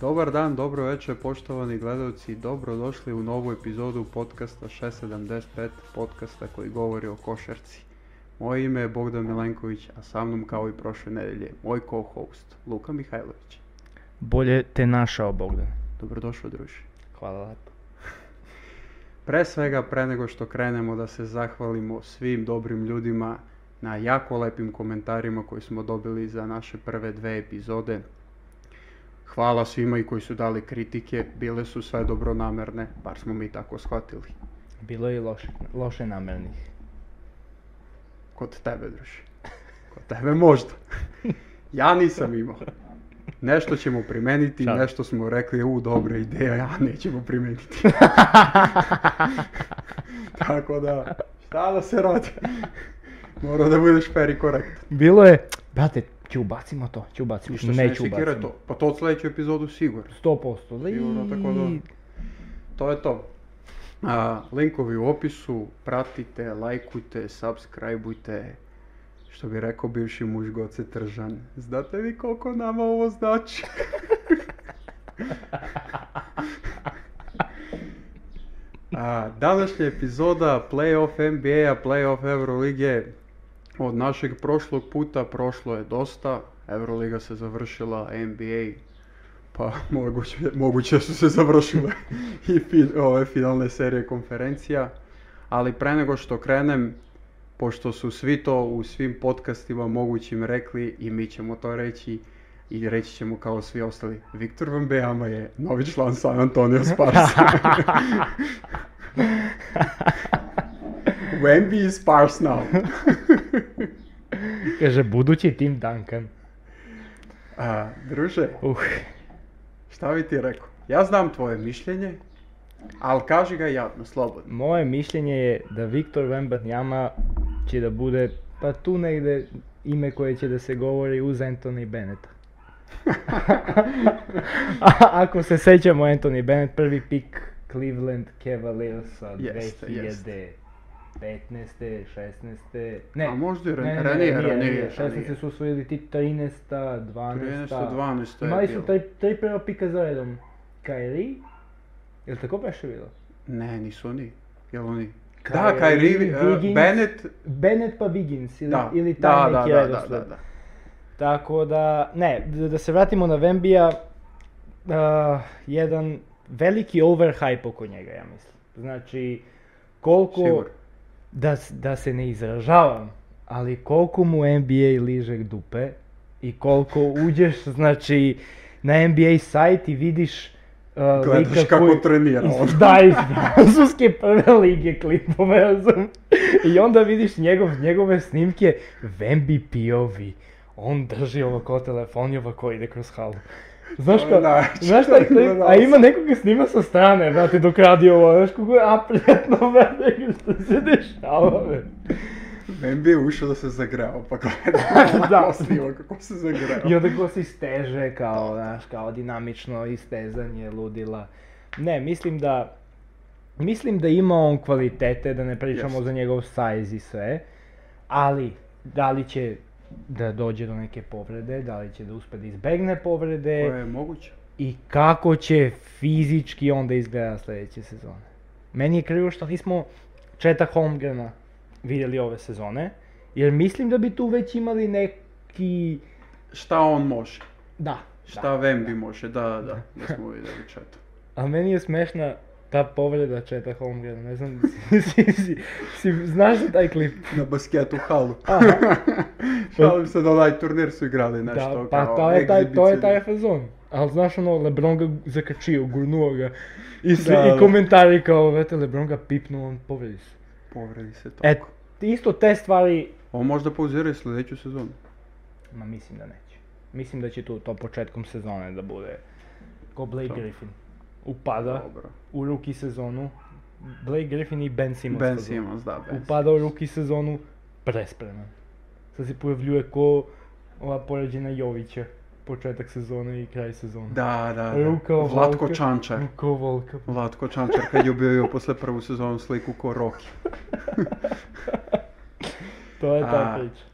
Dobar dan, dobro večer, poštovani gledalci. Dobrodošli u novu epizodu podcasta 675, podcasta koji govori o košarci. Moje ime je Bogdan Milenković, a sa mnom kao i prošle nedelje, moj co-host, Luka Mihajlović. Bolje te našao, Bogdan. Dobrodošao, druže. Hvala lepo. Pre svega, pre nego što krenemo da se zahvalimo svim dobrim ljudima na jako lepim komentarima koji smo dobili za naše prve dve epizode. Hvala svima i koji su dali kritike, bile su sve dobronamerne, bar smo mi tako shvatili. Bilo je i loše, loše namernih. Kod tebe, druže. Kod tebe možda. Ja nisam imao. Nešto ćemo primeniti, Šta? nešto smo rekli, u, dobra ideja, ja nećemo primeniti. Tako da, šta da se radi? Mora da budeš fair i korektan. Bilo je, brate, ću ubacimo to, ću ubacimo. I što se ne sekira to? Pa to od sljedeću epizodu sigurno. 100%. Li... Sigurno, ono tako da- To je to. A, linkovi u opisu, pratite, lajkujte, subscribeujte, što bi rekao bivši muž Goce Tržan. Znate vi koliko nama ovo znači? A, današnja epizoda playoff NBA-a, playoff Euroligije, od našeg prošlog puta prošlo je dosta, Euroliga se završila, NBA, pa moguće, moguće su se završile i fi- ove finalne serije konferencija, ali pre nego što krenem, pošto su svi to u svim podcastima mogućim rekli i mi ćemo to reći, i reći ćemo kao svi ostali, Viktor Vembeama je novi član San Antonio Sparsa. Wemby is Spars now. Kaže, budući Tim Duncan. A, druže, Uh, šta bi ti rekao? Ja znam tvoje mišljenje, ali kaži ga javno, slobodno. moje mišljenje je da Viktor Wembanyama će da bude, pa tu negde ime koje će da se govori uz Anthony Bennetta. A, ako se sećamo Anthony Bennett, prvi pik Cleveland Cavaliersa Jeste, jeste. 2015. 16. Ne, A možda i ne, ran- ne, ne, ranije, ranije, ranije, ranije. 16. ranije. su osvojili ti 13. 12. 13.12. je Imali su bilo. tri, tri prva pika za redom. Kyrie, jel tako beše bilo? Ne, nisu oni. Jel oni? da, Kyrie, Kyrie, e, Wiggins. Bennett, Bennett pa Wiggins ili, da, ili da, taj da, neki da, da, redosled. da, da. Tako da, ne, da da se vratimo na Vembija, uh, jedan veliki overhype oko njega, ja mislim. Znači, koliko, Sigurno. da, s- da se ne izražavam, ali koliko mu NBA liže dupe i koliko uđeš, znači, na NBA sajt i vidiš uh, Gledaš lika kako koji- trenira ono. on. Iz, da, iz francuske prve lige klipove, razum. I onda vidiš njegov, njegove snimke, Vembi Piovi. On drži ovako telefon i ovako ide kroz halu. Znaš To je šta, najjače. znaš šta, je klip? a ima nekoga snima sa strane, brate, dok radi ovo, znaš kako je apretno, brate, što se dešava, bre. Wemby je ušao da se zagrao, pa gleda Da. da. snimak kako se zagrao. I onda ko se isteže, kao, znaš, kao dinamično istezanje, ludila. Ne, mislim da, mislim da ima on kvalitete, da ne pričamo Jeste. za njegov size i sve, ali da li će da dođe do neke povrede, da li će da uspe da izbegne povrede To je moguće. i kako će fizički onda izgleda sljedeće sezone. Meni je krivo što nismo Četa Holmgrena vidjeli ove sezone, jer mislim da bi tu već imali neki... Šta on može? Da, Šta Wemby može? Da, da, da, da smo vidjeli četu. A meni je smešna ta povreda Četa Holmgrena, ne znam, si, si, si, si- znaš za taj klip? Na basketu halu. Aha, Šalim se da onaj turnir su igrali nešto da, pa kao to je, taj, to je taj egzibicionizam. fazon. Ali znaš ono, Lebron ga zakačio, gurnuo ga. I, svi, Da, da. i komentari kao, vete, Lebron ga pipnuo, on povredi se. Povredi se to. E, isto te stvari, On možda pauziraju sljedeću sezonu. ma mislim da neće. Mislim da će tu to početkom sezone da bude ko Blake To. Griffin. Upada Dobro. u ruki sezonu. Blake Griffin i Ben Simmons. Ben fazon. Simmons, da, Ben upada u ruki sezonu prespreman. Sad se pojavljuje ko ova poređena Jovića, početak sezone i kraj sezone. Simmons. Da, da, da. Ruka ovolika. Vlatko Čančar. Ruka ovolika. Vlatko Čančar kad je objavio posle prvu sezonu sliku ko Rocky. To je ta A, priča.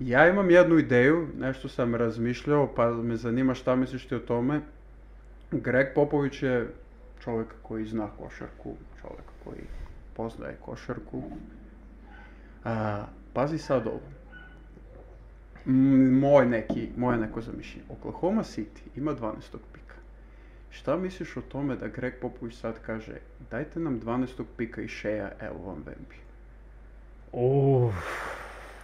Ja imam jednu ideju, nešto sam razmišljao, pa me zanima šta misliš ti o tome. Greg Popović je čovjek koji zna košarku, čovjek koji poznaje košarku. A, pazi sad ovo. M, Moj neki, moje neko zamišljenje. Oklahoma City ima 12. pika. Šta misliš o tome da Greg Popović sad kaže dajte nam 12. pika i Shea, evo vam Bambi. Uf,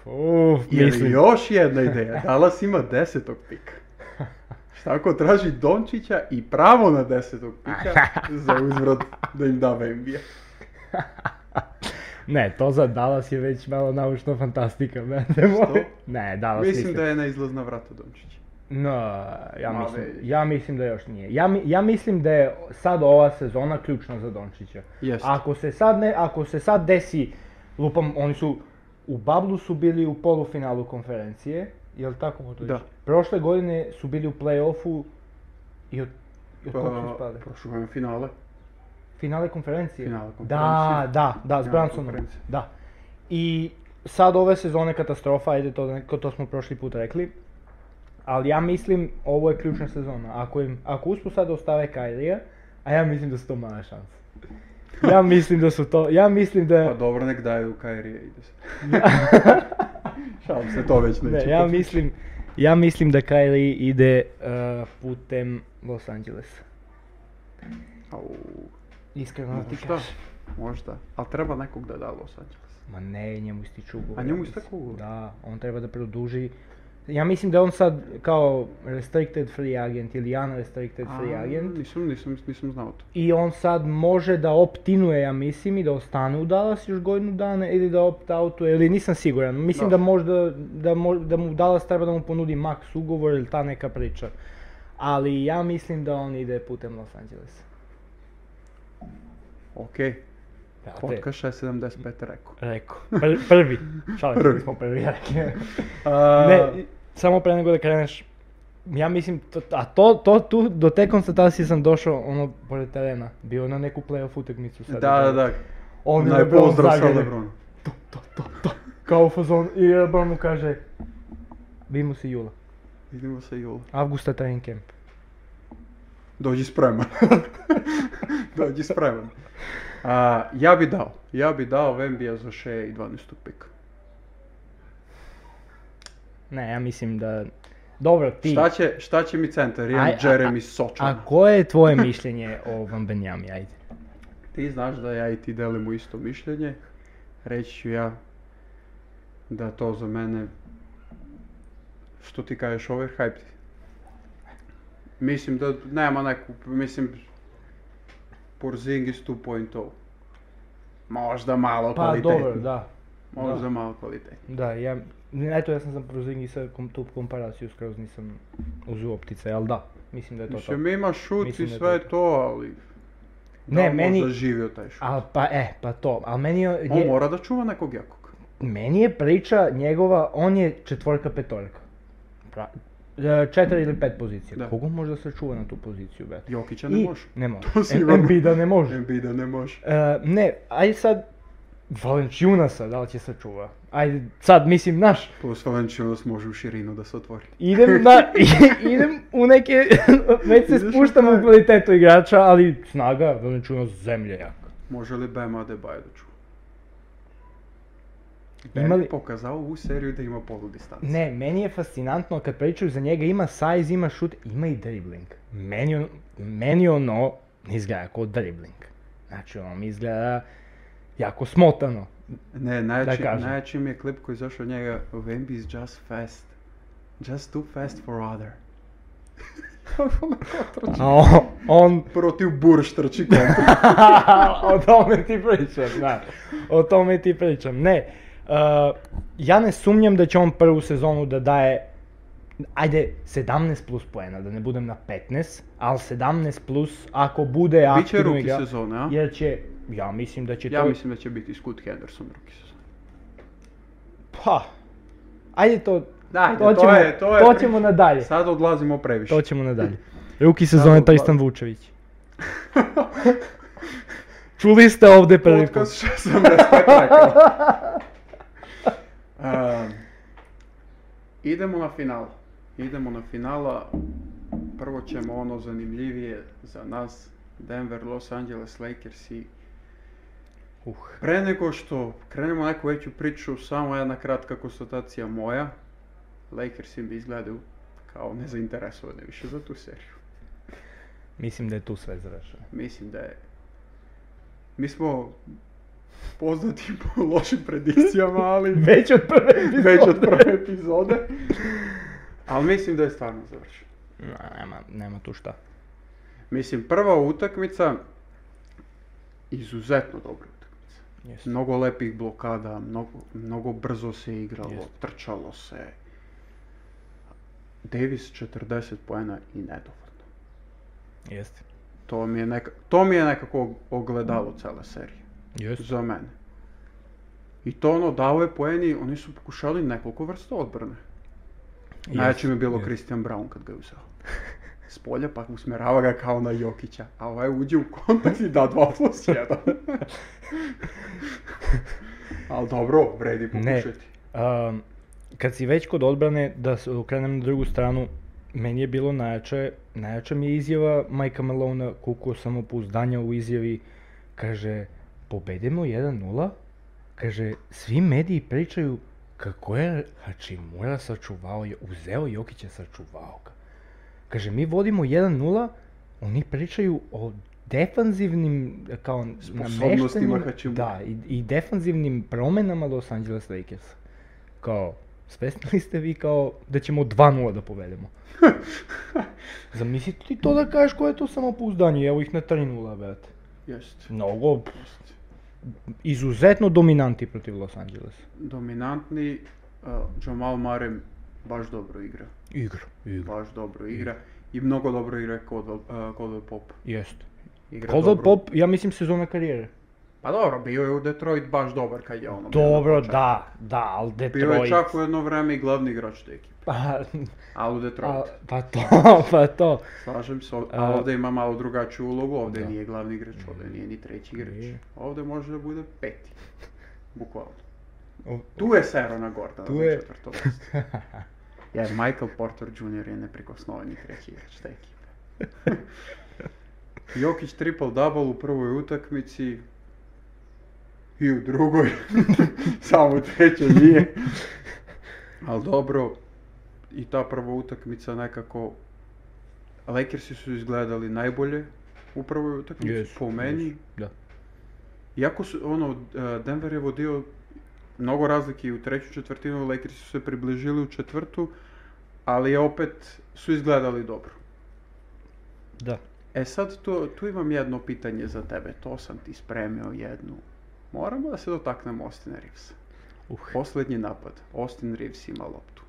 uf, Ili mislim. još jedna ideja, Dallas ima 10. pika. Šta ako traži Dončića i pravo na 10. pika za uzvrat da im da Bambija. Ne, to za Dallas je već malo naučna fantastika, brate moj. Ne, Dallas Mislim isto. da je na izlazna vrata Dončića. No, ja Ma, mislim, već. ja mislim da još nije. Ja, mi- ja mislim da je sad ova sezona ključna za Dončića. Jeste. Ako se sad ne, ako se sad desi, lupam, oni su u bablu su bili u polufinalu konferencije, jel tako možda Da. reći? Prošle godine su bili u play-offu i od, i od Pa, kog su ispali? Prošlo je finale. Finale konferencije. Finale Da, konferencije. da, da, s Finale Bransonom. konferencije. Da. I sad ove sezone katastrofa, ajde to, neko, to smo prošli put rekli. Ali ja mislim, ovo je ključna sezona. Ako, im, ako uspu sad da ostave Kyrie, a ja mislim da su to mala šansa. Ja mislim da su to, ja mislim Pa da... dobro, nek daju Kairije ide se. Šalim se, to već Pa neće. Ne, ja postići. mislim, ja mislim da Kyrie ide eh, putem Los Angelesa. Au, Iskreno ti Možda, kažem. možda. Ali treba nekog da da Los Angeles. Ma ne, njemu ističu ugovor. A ja njemu mislim. istekao ugovor? Da, on treba da produži. Ja mislim da je on sad kao restricted free agent ili unrestricted free A, agent. Nisam, nisam, nisam znao to. I on sad može da optinuje, ja mislim, i da ostane u Dallas još godinu dana ili da opt-outuje, ili nisam siguran. Mislim da, Da. možda, da, mo- da mu Dallas treba da mu ponudi max ugovor ili ta neka priča. Ali ja mislim da on ide putem Los Angelesa. Okej, Brate, podcast 675 rekao. Rekao. Pr- prvi. Šalim, se, Prvi. nismo prvi rekli. A, Ne, i- samo pre nego da kreneš, ja mislim, to, a to, to, tu, do te konstatacije sam došao, ono, pored terena, bio je na neku playoff utakmicu sad. Da, da, da. Ono Onaj je Lebron pozdrav sa zagrljen. Lebronom. To, to, to, to. Kao u fazon, i Lebron mu kaže, vidimo se jula, Vidimo se jula. avgusta training camp. Dođi spreman. Dođi spreman. A, ja bi dao. Ja bi dao Vembija za 6 i 12 pika. Ne, ja mislim da, dobro, ti, Šta će, šta će mi centar? Jedan Aj, a- Jeremy Sočan. a koje je tvoje mišljenje o Van Benjami, ajde? Ti znaš da ja i ti delimo isto mišljenje. Reći ću ja da to za mene, što ti kažeš, overhyped. Mislim da nema neku, mislim, Porzingis 2.0. oh. Možda malo Pa dobro, kvalitetnije. da, Možda da. malo kvalitetnije. da, ja, ne, eto ja sam za Prozingisa kom, tu komparaciju skroz nisam uzeo optice, ali da, mislim da je to to. Mislim, ima šut Mislim i da je sve to to, ali... Ne, da li meni- Možda živio taj šut. A pa e, pa to, ali meni je, On je- mora da čuva nekog jakog. meni je priča njegova, on je četvorka petorka. Pra, e, četiri ili pet pozicija. Da. Koga može da se čuva na tu poziciju, brate? Jokića ne I- može. Ne može. E, To Em- sigurno. Embida ne može. Embida ne može. E, ne, aj sad Valenčunasa, da li će se čuva? Ajde, sad mislim, naš, Plus Valenčinos može u širinu da se otvori. idem na, idem u neke, već se Ideš u spuštam u kraj. kvalitetu igrača, ali snaga, Valenčunas zemlje jaka. Može li Bam Adebayo da čuva? Ima Bam li- je pokazao ovu seriju da ima polu distancu. Ne, meni je fascinantno kad pričaju za njega, ima size, ima šut, ima i dribbling. Meni, on- meni ono izgleda kao dribbling. Znači ono mi izgleda jako smotano. Ne, najjači, Da kažem. najjači mi je klip koji je izašao od njega. Wemby is just fast. Just too fast for other. A on, on Protiv Burš trči kontra. Ja, o tome ti pričam, da. O tome ti pričam. Ne, uh, ja ne sumnjam da će on prvu sezonu da daje ajde 17 plus poena, da ne budem na 15, ali 17 plus ako bude Biće aktivno ruki igra, sezone, a? jer će, ja mislim da će Ja to mislim da će biti Scoot Henderson ruki sezone. Pa, ajde to, Dajde, to, to ćemo, je- to je to priča. ćemo nadalje. Sad odlazimo previše. To ćemo nadalje. Ruki sezone Samo Tristan Vučević. Čuli ste ovde prvi put. Podcast 675 rekao. Ehm, Um, idemo na final. Idemo na finala. prvo ćemo ono zanimljivije za nas, Denver, Los Angeles Lakers i Uh. Pre nego što krenemo na neku veću priču, samo jedna kratka konstatacija moja. Lakersi bi izgledaju kao nezainteresovani više za tu seriju. Mislim da je tu sve završeno. Mislim da je... Mi smo poznati po lošim predikcijama, ali Već od prve epizode. već od prve epizode. Ali mislim da je stvarno završeno. Na, nema, nema tu šta. Mislim, prva utakmica, izuzetno dobra utakmica. Jest. Mnogo lepih blokada, mnogo, mnogo brzo se igralo, Jest. trčalo se. Davis 40 poena i nedovoljno. Jest. To mi je, neka, to mi je nekako ogledalo cele serije, Jest. za mene. I to ono, dao je poeni, oni su pokušali nekoliko vrsta odbrane. Najjače mi je bilo Christian Brown kad ga je uzeo. S polja pa usmerava ga kao na Jokića, a ovaj uđe u kontakt i da 2 plus 1. Ali dobro, vredi Ne. pokušati. Um, kad si već kod odbrane, da se okrenem na drugu stranu, meni je bilo najjače, najjača mi je izjava Majka Malona, koliko samopouzdanja u izjavi, kaže, pobedimo 1-0, kaže, svi mediji pričaju kako je Hačimura sačuvao, je uzeo Jokića, sačuvao ga. Kaže, mi vodimo 1-0, oni pričaju o defanzivnim, kao Sposobnostima nameštenim- Hachimure. Da, i, i defanzivnim promenama Los Angeles Lakers. Kao, svesni li ste vi kao da ćemo 2-0 da povedemo? Zamisli ti to da kažeš koje je to samopouzdanje, evo ih na 3-0, brate. Jeste. Mnogo, pff, jeste. izuzetno dominanti protiv Los Angeles. Dominantni, uh, Jamal Marem baš dobro igra. Igra, igra. Baš dobro igra. I mnogo dobro igra Caldwell, uh, Caldwell Pop. Jeste. Igra Caldwell dobro. Pop, ja mislim sezona karijere. Pa dobro, bio je u Detroit baš dobar kad je ono... bio na Dobro, početku. da, da, ali Bio je Detroit. čak u jedno vreme i glavni igrač te ekipe. Pa, Ali u pa, Detroit. pa to, pa to. Slažem se, A- ali ovdje ima malo drugačiju ulogu, ovdje Da. Mm. nije glavni igrač, ovdje nije ni treći igrač. Nije. Ovdje može da bude peti, bukvalno. O- Tu je Serona Gordona Tu tu je... je- četvrto mesto. Jer Michael Porter Jr. je neprikosnoveni treći igrač te ekipe. Jokić triple-double u prvoj utakmici i u drugoj, samo u trećoj nije. Ali dobro, i ta prva utakmica nekako Lakersi su izgledali najbolje u prvoj utakmici, Jesu, po meni. jesu, da. Iako su, ono, eh, Denver je vodio mnogo razlike i u treću četvrtinu, Lakersi su se približili u četvrtu, ali je opet su izgledali dobro. Da. E sad, tu, tu imam jedno pitanje za tebe, to sam ti spremio jednu. Moramo da se dotaknemo Austin Reevesa. Uh. Posljednji napad, Austin Reeves ima loptu.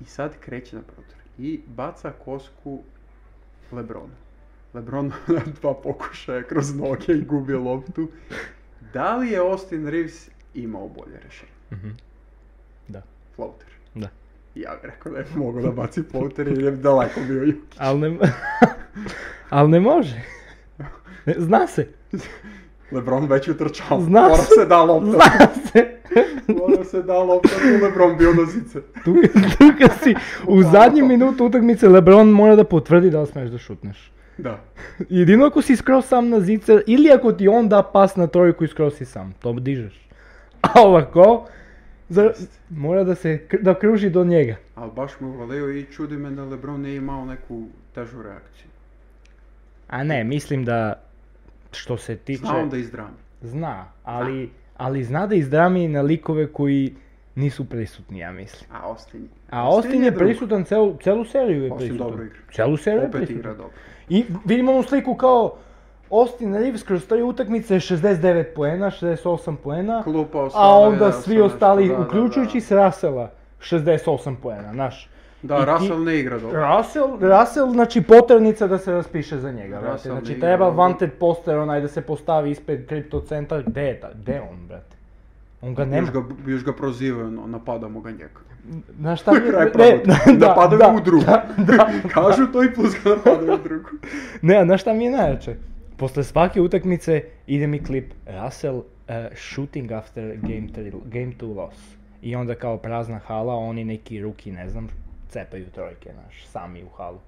I sad kreće na protor. I baca kosku Lebronu. Lebron na dva pokušaja kroz noge i gubi loptu. Da li je Austin Reeves imao bolje rješenje? Mhm. Floater. Da. Ja bih rekao da je mogao da baci floater jer je daleko bio Jokić. Al ne, al ne može. Ne, Zna se, Lebron već utrčao. Zna Mora se. se da lopta. zna se. Mora Ono se da lopta. tu Lebron bio na zice. Tu, tu kad si u zadnji minut utakmice Lebron mora da potvrdi da li smeš da šutneš. Da. Jedino ako si skroz sam na zicer ili ako ti on da pas na trojku i skroz si sam, to dižeš. A ovako, za- mora da se kr- da kruži do njega. Ali baš mu valeo i čudi me da Lebron nije imao neku težu reakciju. A ne, mislim da što se tiče... Znao da izdrami. Zna, ali, ali zna da izdrami na likove koji nisu prisutni, ja mislim. A Austin... A Austin je drug. prisutan celu, celu seriju je Austin prisutan. dobro igra. Celu seriju je Opet igra prisutan. dobro. I vidimo onu sliku kao Austin Reeves kroz tri utakmice je 69 poena, 68 poena, Klupa a osvojila onda je svi ono, nešto, ostali, da, da, uključujući s Russella, 68 poena, znaš. Da, i da ti- Russell ne igra dobro. Russell, Russell, znači poternica da se raspiše za njega, brate. Russell ne Znači igra ono. treba dobro. wanted poster onaj da se postavi ispred kripto centar, gde je ta, gde je on, brate? On ga nema. Još ga, još ga prozivaju, no, napadamo ga njega. Znaš šta mi je- Kraj ne, pravote. da, Napadaju da, u drugu. da, da. Kažu to i plus ga napadaju u drugu. Ne, a znaš šta mi je najjače? Posle svake utakmice ide mi klip Russell uh, shooting after game 3, game 2 loss. I onda kao prazna hala, oni neki ruki, ne znam, cepaju trojke, znaš, sami u halu.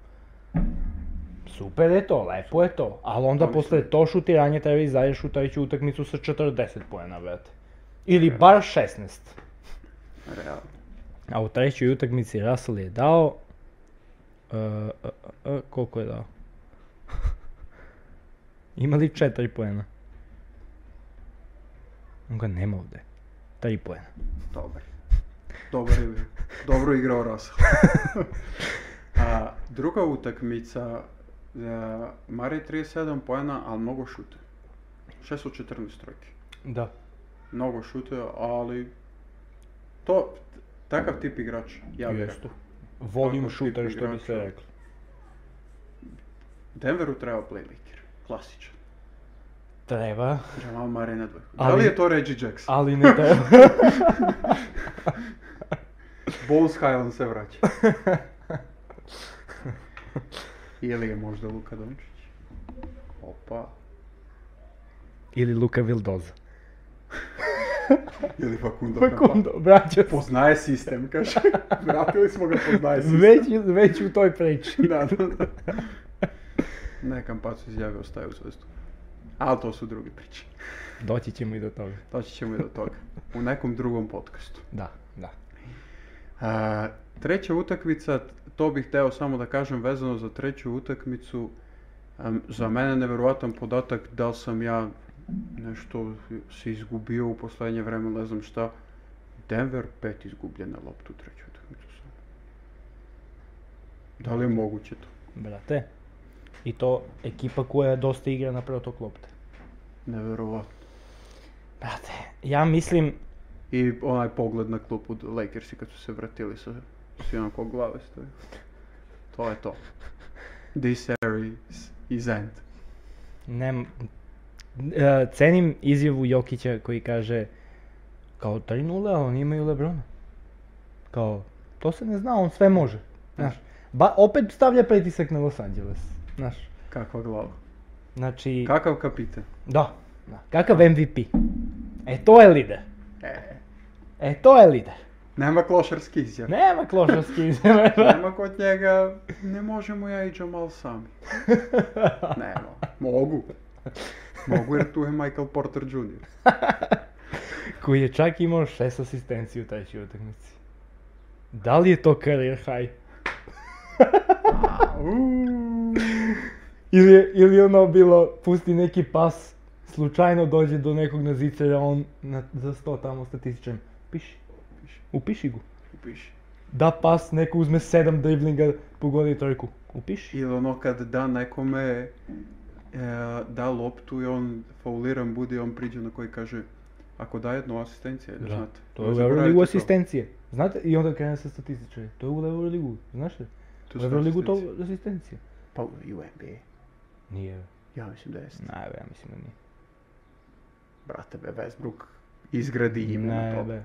Super je to, lepo je to, ali onda Pa mislim- posle to šutiranje treba izađeš šutajući utakmicu sa 40 poena, brate. Ili bar 16. Realno. A u trećoj utakmici Russell je dao... e, e, e, e, koliko je dao? Ima li 4 poena? On ga nema ovde. 3 poena. Dobar. Dobar je bio. Dobro je igrao Russell. A, druga utakmica, e, a, Mare 37 poena, ali mnogo šute. 6 od 14 trojke. Da. Mnogo šute, ali to, takav tip igrača, ja bih Jeste. rekao. Volim Takav šuter tip što bi igrača. se reklo. Denveru treba playmaker, klasičan. Treba, Jamal Mare na dvojku. Da Ali- li je to Reggie Jackson? ali ne treba. Bones Highland se vraća. Ili je možda Luka Dončić? Opa. Ili Luka Vildoza. Ili Facundo Fakundo, braća se. Poznaje sistem, kaže. Vratili smo ga, poznaje sistem. Već, već u toj priči. Da, da, da. Ne, Kampacu izjavio ostaje u zvezdu. Ali to su druge priče. Doći ćemo i do toga. Doći ćemo i do toga. U nekom drugom podcastu. Da, da. A, treća utakmica, to bih hteo samo da kažem vezano za treću utakmicu. Am, za mene nevjerovatan podatak da li sam ja nešto se izgubio u poslednje vreme, ne znam šta. Denver pet izgubljene loptu u trećoj utakmicu samo. Da li je moguće to? Brate, i to ekipa koja je dosta igra na preotok lopte. Neverovatno. Brate, ja mislim, I onaj pogled na klupu d- Lakersi kad su se vratili sa svi onako glave stoje. To je to. This series is end. ne, e, cenim izjavu Jokića koji kaže kao 3-0, ali oni imaju Lebrona. Kao, to se ne zna, on sve može. Znaš, ba, opet stavlja pritisak na Los Angeles. Znaš, Kakva glava. znači, Kakav kapitan? da, da. Kakav MVP? E, to je lider. E, E, to je lider. nema klošarski izjav. Nema klošarski izjave. Nema kod njega, ne možemo ja i Jamal sami. Nema. Mogu. Mogu jer tu je Michael Porter Jr. koji je čak imao šest asistencije u trećoj utakmici. Da li je to career high? Uuu. Ili, je- ili je ono bilo, pusti neki pas, slučajno dođe do nekog nazicara, on na, za sto tamo statističan, piši, Piši. upiši go. Upiši. Da pas, neko uzme sedam driblinga, pogodi trojku, upiši. Ili ono kad da nekome e, da loptu i on fauliran bude on priđe na koji kaže ako da jednu asistenciju, da, znate. to ne je u zaboravite Euroligu to. asistencije. Znate, i onda krene sa statističari, to je u Euroligu, znaš li? To U su Euroligu to asistencije. asistencija. Pa i u NBA. Nije, Ja mislim da jeste. najve, ja mislim da nije. Brate be, Westbrook izgradi ime na Ne, to. be.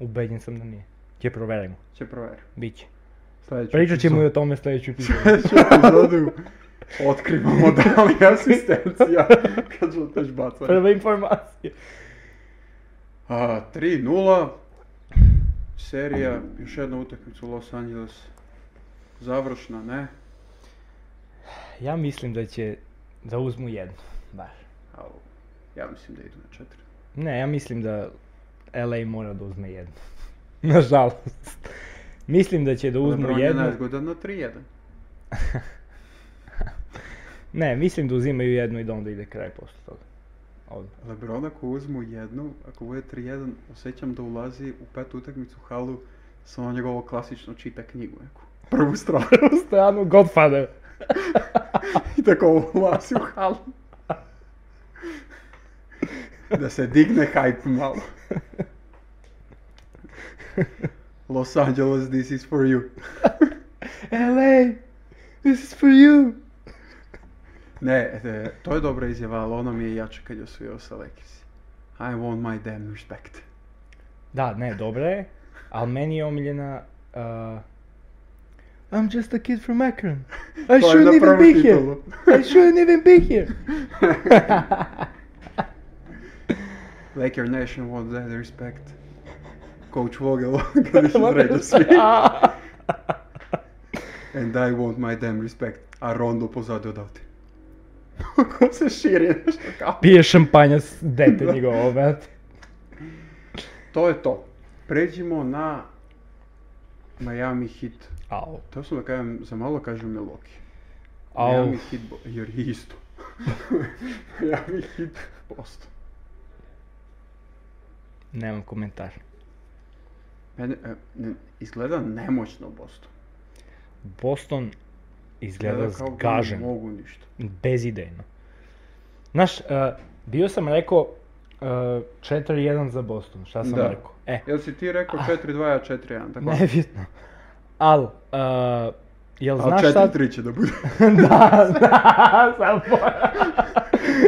Ubeđen sam da nije. Će proverimo. Će proveriti. Biće. Sljedeću Pričat ćemo i epizodu. o tome sljedeću epizodu. Sljedeću epizodu otkrivamo da li je asistencija kad žuteš bacanje. Prva informacija. A, 3-0, serija, još jedna utakmica u Los Angeles. Završna, ne? Ja mislim da će da uzmu jednu, baš. Al, ja mislim da idu na četiri. Ne, ja mislim da LA mora da uzme jednu. Nažalost. Mislim da će da uzmu LeBron je jednu. nezgodan na 3-1. Ne, mislim da uzimaju jednu i da onda ide kraj posle toga. Odmah. Lebron ako uzmu jednu, ako bude 3-1, osjećam da ulazi u petu utakmicu u halu sa ono njegovo klasično čita knjigu neku. Prvu stranu. U stranu Godfather. I tako ulazi u halu. Da se digne hype malo. Los Angeles, this is for you. LA, this is for you. Ne, e, to je dobra izjava, ali ona mi je jača kad je osvijao sa Lakers. I want my damn respect. Da, ne, dobra je, ali meni je omiljena... Uh, I'm just a kid from Akron. I To je na shouldn't even prvu be titulu. here. I shouldn't even be here. Laker Nation wants that respect. Coach Vogel, kad više sređa svi. And I want my damn respect. A Rondo pozadi odavde. Ko se širi, znaš, kao. Pije šampanja s dete ovaj. Da. njegovo, brate. To je to. Pređimo na Miami Heat. Au. To sam da kažem, za malo kažem Milwaukee. Au. Miami Heat, bo- jer je isto. Miami Heat, posto. Nemam komentar. Mene, e, ne- izgleda nemoćno Boston. Boston izgleda kao da zgažen. Ne mogu ništa. bezidejno. Znaš, uh, bio sam rekao uh, 4-1 za Boston, šta sam Da. rekao? E, Jel si ti rekao 4-2, a 4-1, tako? nebitno. Al, uh, jel A znaš šta... 4-3 će da bude. da, da, sam pora.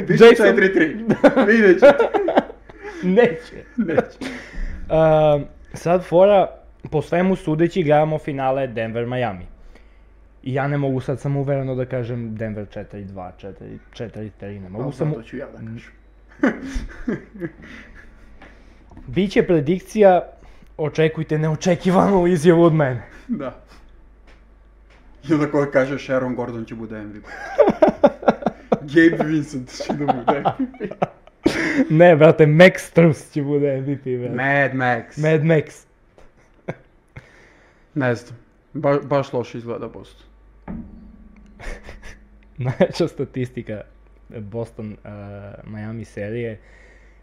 Biće 4-3. Vidjet ćete. Neće. Neće. Uh, sad fora, po svemu sudeći gledamo finale Denver-Miami. I ja ne mogu sad samo uvereno da kažem Denver 4-2, 4- 4-3, ne mogu Mogu samo... To ću ja da kažem. Biće predikcija, očekujte neočekivanu izjavu od mene. Da. I onda ko kaže Sharon Gordon će bude MVP. Gabe Vincent će da bude MVP. Ne, brate, Max Truss će bude MVP, brate. Mad Max. Mad Max. Ne znam. Ba- baš loše izgleda Boston. Najveća statistika Boston uh, Miami serije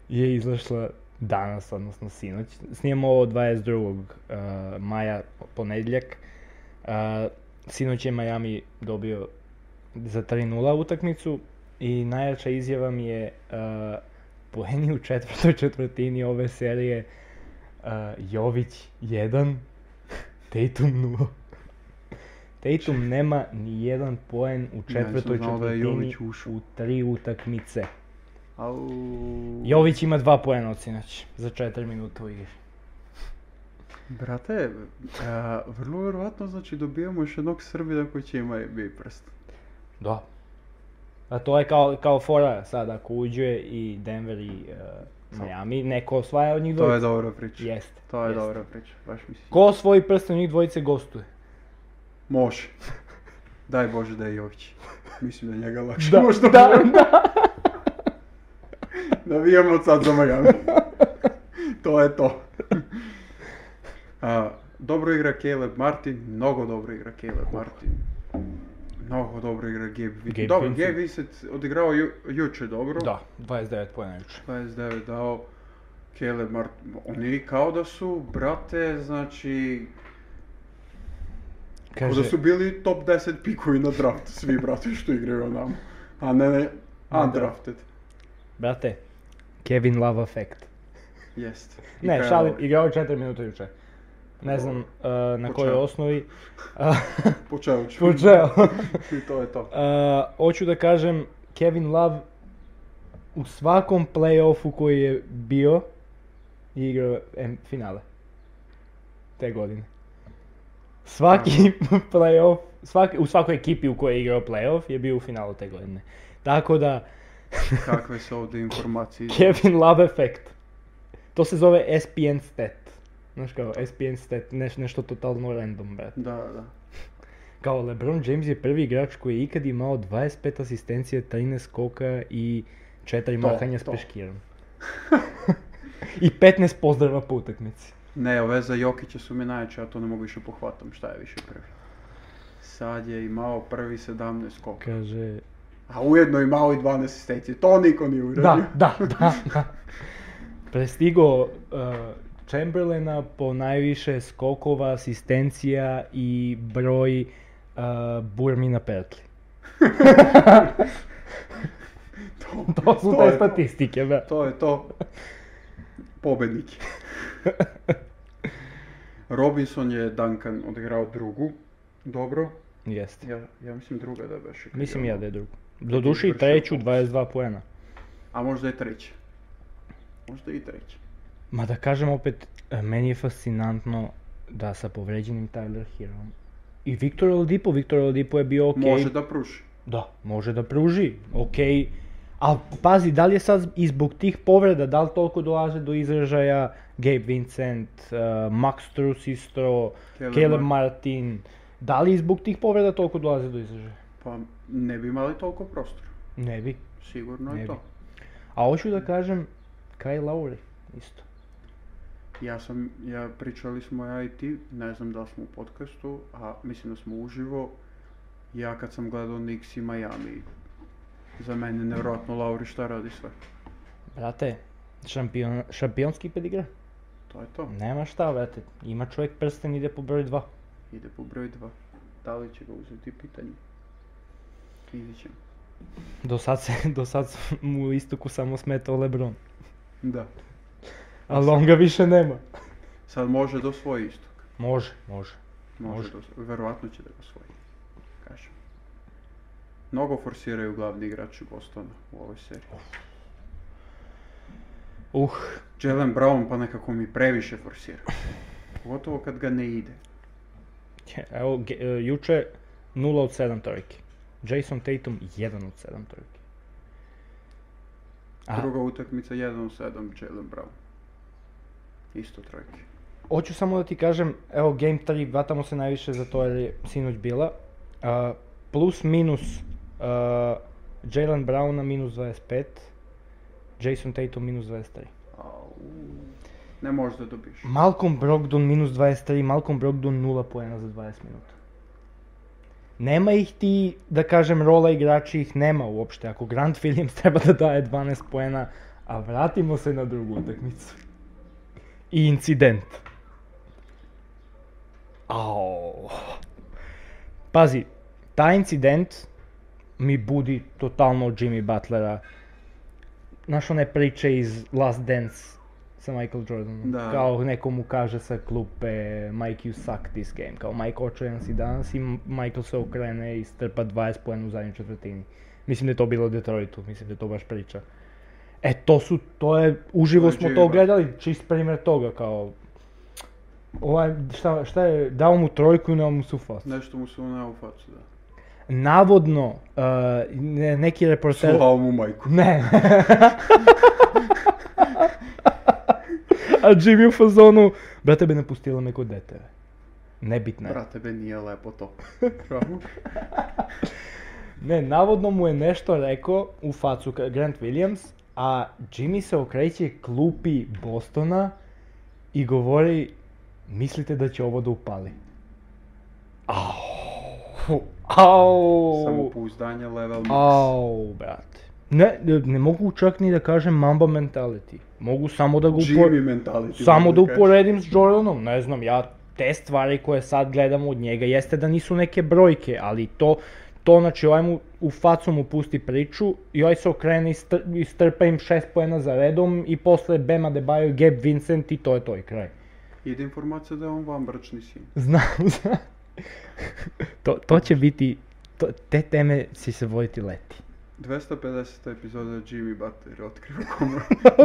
je izašla danas, odnosno sinoć. Snijemo ovo 22. uh, maja, ponedjeljak. Uh, sinoć je Miami dobio za 3-0 utakmicu i najjača izjava mi je uh, poeni u četvrtoj četvrtini ove serije uh, Jović 1, Tatum 0. Tatum nema ni jedan poen u Ja nisam četvrtoj znao da je četvrtini Jović ušao. u tri utakmice. Au. Jović ima dva poena od sinoć za 4 minuta u igri. Brate, a, vrlo vjerovatno znači dobijamo još jednog Srbina koji će ima NBA prst. Da. A to je kao, kao fora sad, ako uđe i Denver i uh, Miami, neko osvaja od njih To dvojice. je znači. dobra priča. Jeste. To je jeste. dobra priča, baš mislim. Ko osvoji prst od njih dvojice gostuje? Može. Daj Bože da je Jović. Mislim da je njega lakše Da, možda da, bude. Navijamo od sad za Miami. to je to. A, dobro igra Caleb Martin, mnogo dobro igra Caleb Martin. Mnogo dobro igra Gabe Gabe Vincent. Dobro, Vincent. Gabe Vincent odigrao ju, juče dobro. Da, 29 poena juče. 29 dao Caleb Martin. Oni kao da su, brate, znači, Kao da su bili top 10 pikovi na draft, svi brate što igraju nam. A ne, ne, undrafted. brate, Kevin Love effect. Jeste. I Ne, Kyle šalim, Lowry. igrao je 4 minuta juče. Ne znam uh, na kojoj Počeo. osnovi. Počeo ću. Počeo. I to je to. Uh, hoću da kažem, Kevin Love u svakom playoffu koji je bio je igrao M- finale. Te godine. Svaki playoff, svaki, u svakoj ekipi u kojoj je igrao playoff je bio u finalu te godine. Tako da, Kakve su ovdje informacije? Kevin Love effect. To se zove SPN stat. Znaš kao, SPN stat, neš, nešto totalno random, brate. Da, da. Kao LeBron James je prvi igrač koji je ikad imao 25 asistencija, 13 skoka i 4 To, mahanja s to. peškirom. I 15 pozdrava po utakmici. Ne, ove za Jokića su mi najjače, ja to ne mogu više pohvatam, šta je više prvi. Sad je imao prvi 17 skoka. Kaže... A ujedno imao i 12 asistencije, to niko nije uradio. Da, da, da, da. Prestigo Chamberlaina po najviše skokova, asistencija i broj uh, burmi na petli. To, To su to te je to. statistike, da. To je to. Pobednik. Robinson je Duncan odigrao drugu. Dobro. Jeste. Ja, ja mislim druga da beše. kad Mislim je ja ono. da je drugo. Doduše i Izvršio treću, popis. 22 poena. A možda je treća. Možda i treća. Ma da kažem opet, e, meni je fascinantno da sa povređenim Tyler Heroom i Viktor Oladipo, Viktor Oladipo je bio okej. Može da pruši. Da, može da pruži, ok. A pazi, da li je sad i zbog tih povreda, da li toliko dolaze do izražaja Gabe Vincent, uh, eh, Max Truss isto, Caleb Caleb Martin. Martin, Da li i zbog tih povreda toliko dolazi do izražaja? Pa ne bi imali toliko prostora. Ne bi. Sigurno Ne je bi. to. A hoću da kažem, Kyle Lowry isto. Ja sam, ja pričali smo ja i ti, ne znam da li smo u podcastu, a mislim da smo uživo. Ja kad sam gledao Knicks i Miami, za mene je nevjerojatno Lauri šta radi sve. Brate, šampion, šampionski pedigra. To je to. Nema šta, brate. Ima čovjek prsten, ide po broju dva. Ide po broj dva. Da li će ga uzeti pitanje? Vidjet ćemo. Do sad, se, do sad su mu istoku samo smetao Lebron. Da. Ali on ga više nema. Sad može do svoje istok. Može, može. Može, Može. do svoje. Verovatno će da ga svoji. Kažem. Mnogo forsiraju glavni igrači Bostona u ovoj seriji. Uh, Jalen Brown pa nekako mi previše forsira. Pogotovo kad ga ne ide. evo, ge- e, juče 0 od 7 trojki. Jason Tatum 1 od 7 trojki. A, Druga utakmica 1 7 Jalen Brown. Isto trojke. hoću samo da ti kažem, evo Game 3, vatamo se najviše za to jer je sinoć bila. A, plus minus a, Jalen Brown na minus 25, Jason Tatum minus 23. Au. Ne možeš da dobiješ. Malcolm Brogdon minus 23, Malcolm Brogdon 0 poena za 20 minuta. Nema ih ti, da kažem, rola igrači ih nema uopšte. Ako Grant Williams treba da daje 12 poena, a vratimo se na drugu utakmicu. I incident. Au. Pazi, taj incident mi budi totalno Jimmy Butlera. Znaš one priče iz Last Dance sa Michael Jordanom. Da. Kao neko mu kaže sa klupe Mike you suck this game. Kao Mike očajan si danas i Michael se okrene i strpa 20 poena u zadnjoj četvrtini. Mislim da je to bilo u Detroitu, mislim da je to baš priča. E, to su, to je, uživo To je smo Jimmy to Butler. gledali, čist primjer toga, kao, ovaj, šta, šta je, dao mu trojku i dao mu su facu. Nešto mu se unao u facu, da. Navodno, uh, ne- neki reporter... Slao mu majku. Ne. A Jimmy u fazonu, brate bi ne pustila me kod dete. bе." Nebitno je. Brate, be nije lepo to. Ne, navodno mu je nešto rekao u facu ka- Grant Williams, a Jimmy se okreće klupi Bostona i govori mislite da će ovo da upali. Au. Au. Samopouzdanje level max. Au, brate. Ne, ne mogu čak ni da kažem Mamba mentality. Mogu samo da ga upor- Jimmy mentality. Samo da mogu kažem. uporedim s Jordanom, ne znam, ja te stvari koje sad gledam od njega jeste da nisu neke brojke, ali to, to znači ovaj mu u facu mu pusti priču i ovaj se okrene i, str- i strpa im šest poena za redom i posle Bema Debajo, Gabe Vincent i to je to i kraj. Ide informacija da je on vanbračni sin. Znam, znam. to, to će biti, to- te teme si se voditi leti. 250. epizoda Jimmy Butler otkriva komu.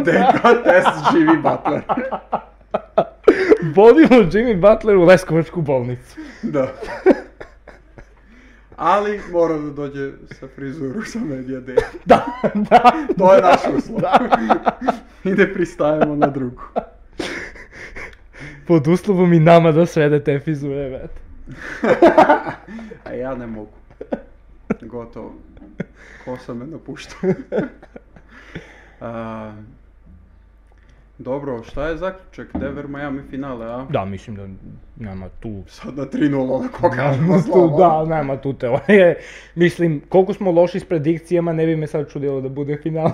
Deka test Jimmy Butler. Vodimo Jimmy Butler u Leskovačku bolnicu. da. Ali mora da dođe sa frizuru sa Media Day. Da, da. To je naš uslov. I ne pristajemo na drugu. Pod uslovom i nama da srede te fizure, brate. A ja ne mogu. Gotovo. Kosa me napušta. A, dobro, šta je zaključak? Denver Miami finale, a? Da, mislim da nema tu... Sad na 3-0, onako kažemo Nema tu, slabo. da, nema tu teorije. Mislim, koliko smo loši s predikcijama, ne bi me sad čudilo da bude finale.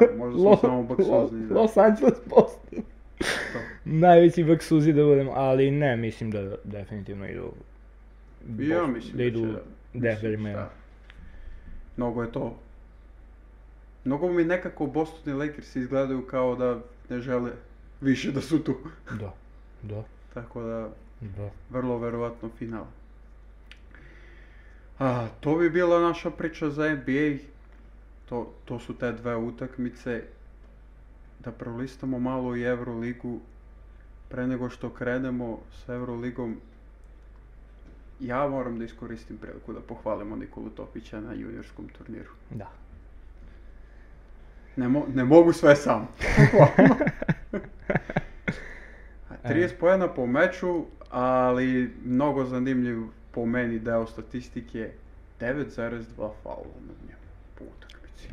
Da, možda smo samo baksuzni, da. Los Angeles Boston. Najveći baksuzi da budem, ali ne, mislim da definitivno idu... I ja Bos- mislim da da će idu da- Denver i Mislim, Miami. šta? Mnogo je to. Mnogo mi nekako Boston i Lakers izgledaju kao da ne žele više da su tu. Da, da, Tako da, da. vrlo verovatno final. A, to bi bila naša priča za NBA. To, to su te dve utakmice. Da prolistamo malo i Euroligu. Pre nego što krenemo s Euroligom, ja moram da iskoristim priliku da pohvalimo Nikolu Topića na juniorskom turniru. Da. Ne, mo- ne mogu sve sam. E. A 30 poena po meču, ali mnogo zanimljiv po meni deo statistike 9,2 faula na njemu po utakmici.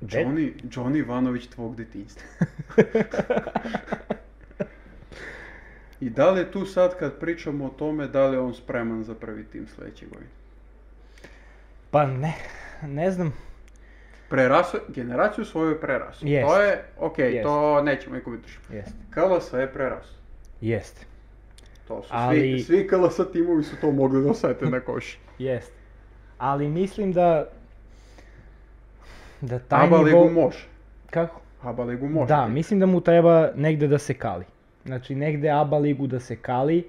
Де- Джони, Джони Иванович твог детинства. I da li je tu sad kad pričamo o tome da li je on spreman za prvi tim sljedeće godine? Pa ne, ne znam. Preraso, generaciju svoju je preraso. Jest. To je, ok, Jest. to nećemo nikom biti Jest. Kalasa je preraso. Jest. To su Ali- svi, svi Kalasa timovi su to mogli da osete na koši. Jest. Ali mislim da... Da taj Aba nivo... ligu može. Kako? Aba ligu može. Da, mislim da mu treba negde da se kali. Znači negde ABA ligu da se kali,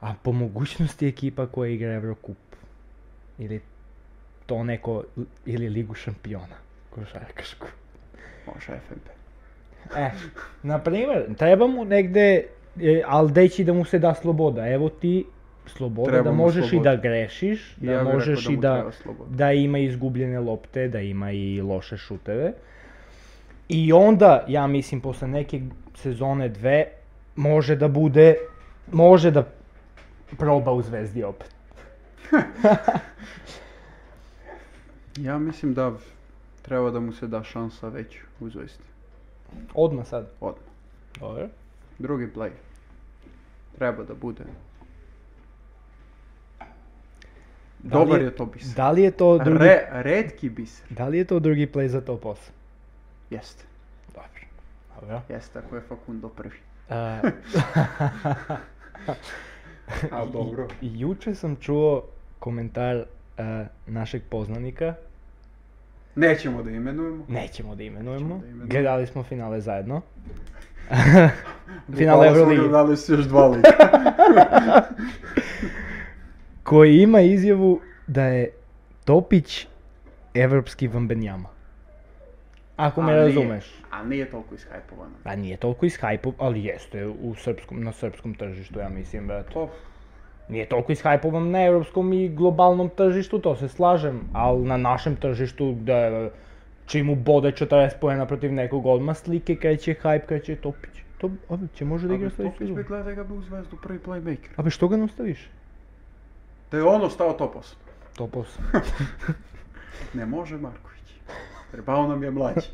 a po mogućnosti ekipa koja igra Eurocup. Ili to neko, ili ligu šampiona. Košarkašku. Može FNP. E, na primjer, treba mu negde, e, ali deći da mu se da sloboda. Evo ti sloboda Treba da mu možeš sloboda. i da grešiš, da ja bih možeš rekao i mu da treba sloboda. da ima izgubljene lopte, da ima i loše šuteve. I onda, ja mislim, posle neke sezone dve, može da bude, može da proba u Zvezdi opet. Ja mislim da treba da mu se da šansa već u Zvezdi. Odmah sad. Odmah. Dobro. Drugi play. Treba da bude. Da li Dobar je- je to biser. Da li je to drugi, Re, redki biser. da li je to drugi play za top 8? Jeste. Dobro. Dobro. Jeste, ako je Facundo prvi. E, A dobro. I- juče sam čuo komentar e, našeg poznanika, Nećemo da imenujemo. nećemo da imenujemo, da imenujemo. gledali smo finale zajedno. Bukvalno finale smo Euroligi. gledali su još dva lika. koji ima izjavu da je Topić evropski Vambenjama. Ako me A nije- razumeš. A nije toliko ishajpovano. Pa nije toliko ishajpo, ali jeste u srpskom, na srpskom tržištu, ja mislim, brate. To, Nije toliko ishajpovan na evropskom i globalnom tržištu, to se slažem, ali na našem tržištu da je- čim ubode 40 pojena protiv nekog odmah slike, kreće hype, kreće Topić. To, ovi će može da igra Abi sledeću Topić bi sezonu. gledaj ga bi u zvezdu prvi playmaker. A be što ga ne ostaviš? Da je ono on ostao topos. Topos. Ne može Marković. Trebao nam je mlađi.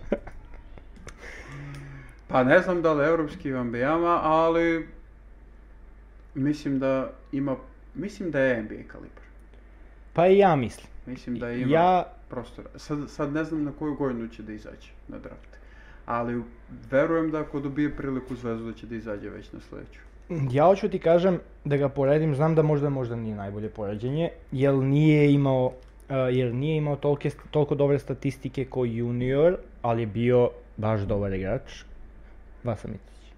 Pa ne znam da li je evropski Vambijama, ali mislim da ima, mislim da je NBA kalibar. Pa i ja mislim. Mislim da ima Ja- prostora. Sad, sad ne znam na koju godinu će da izađe na draft. Ali verujem da ako dobije priliku u zvezdu da će da izađe već na sljedeću. Ja hoću ti kažem da ga poredim, znam da možda možda nije najbolje poređenje, jer nije imao uh, jer nije imao tolke, toliko dobre statistike kao junior, ali je bio baš dobar igrač. Vasa Mitić.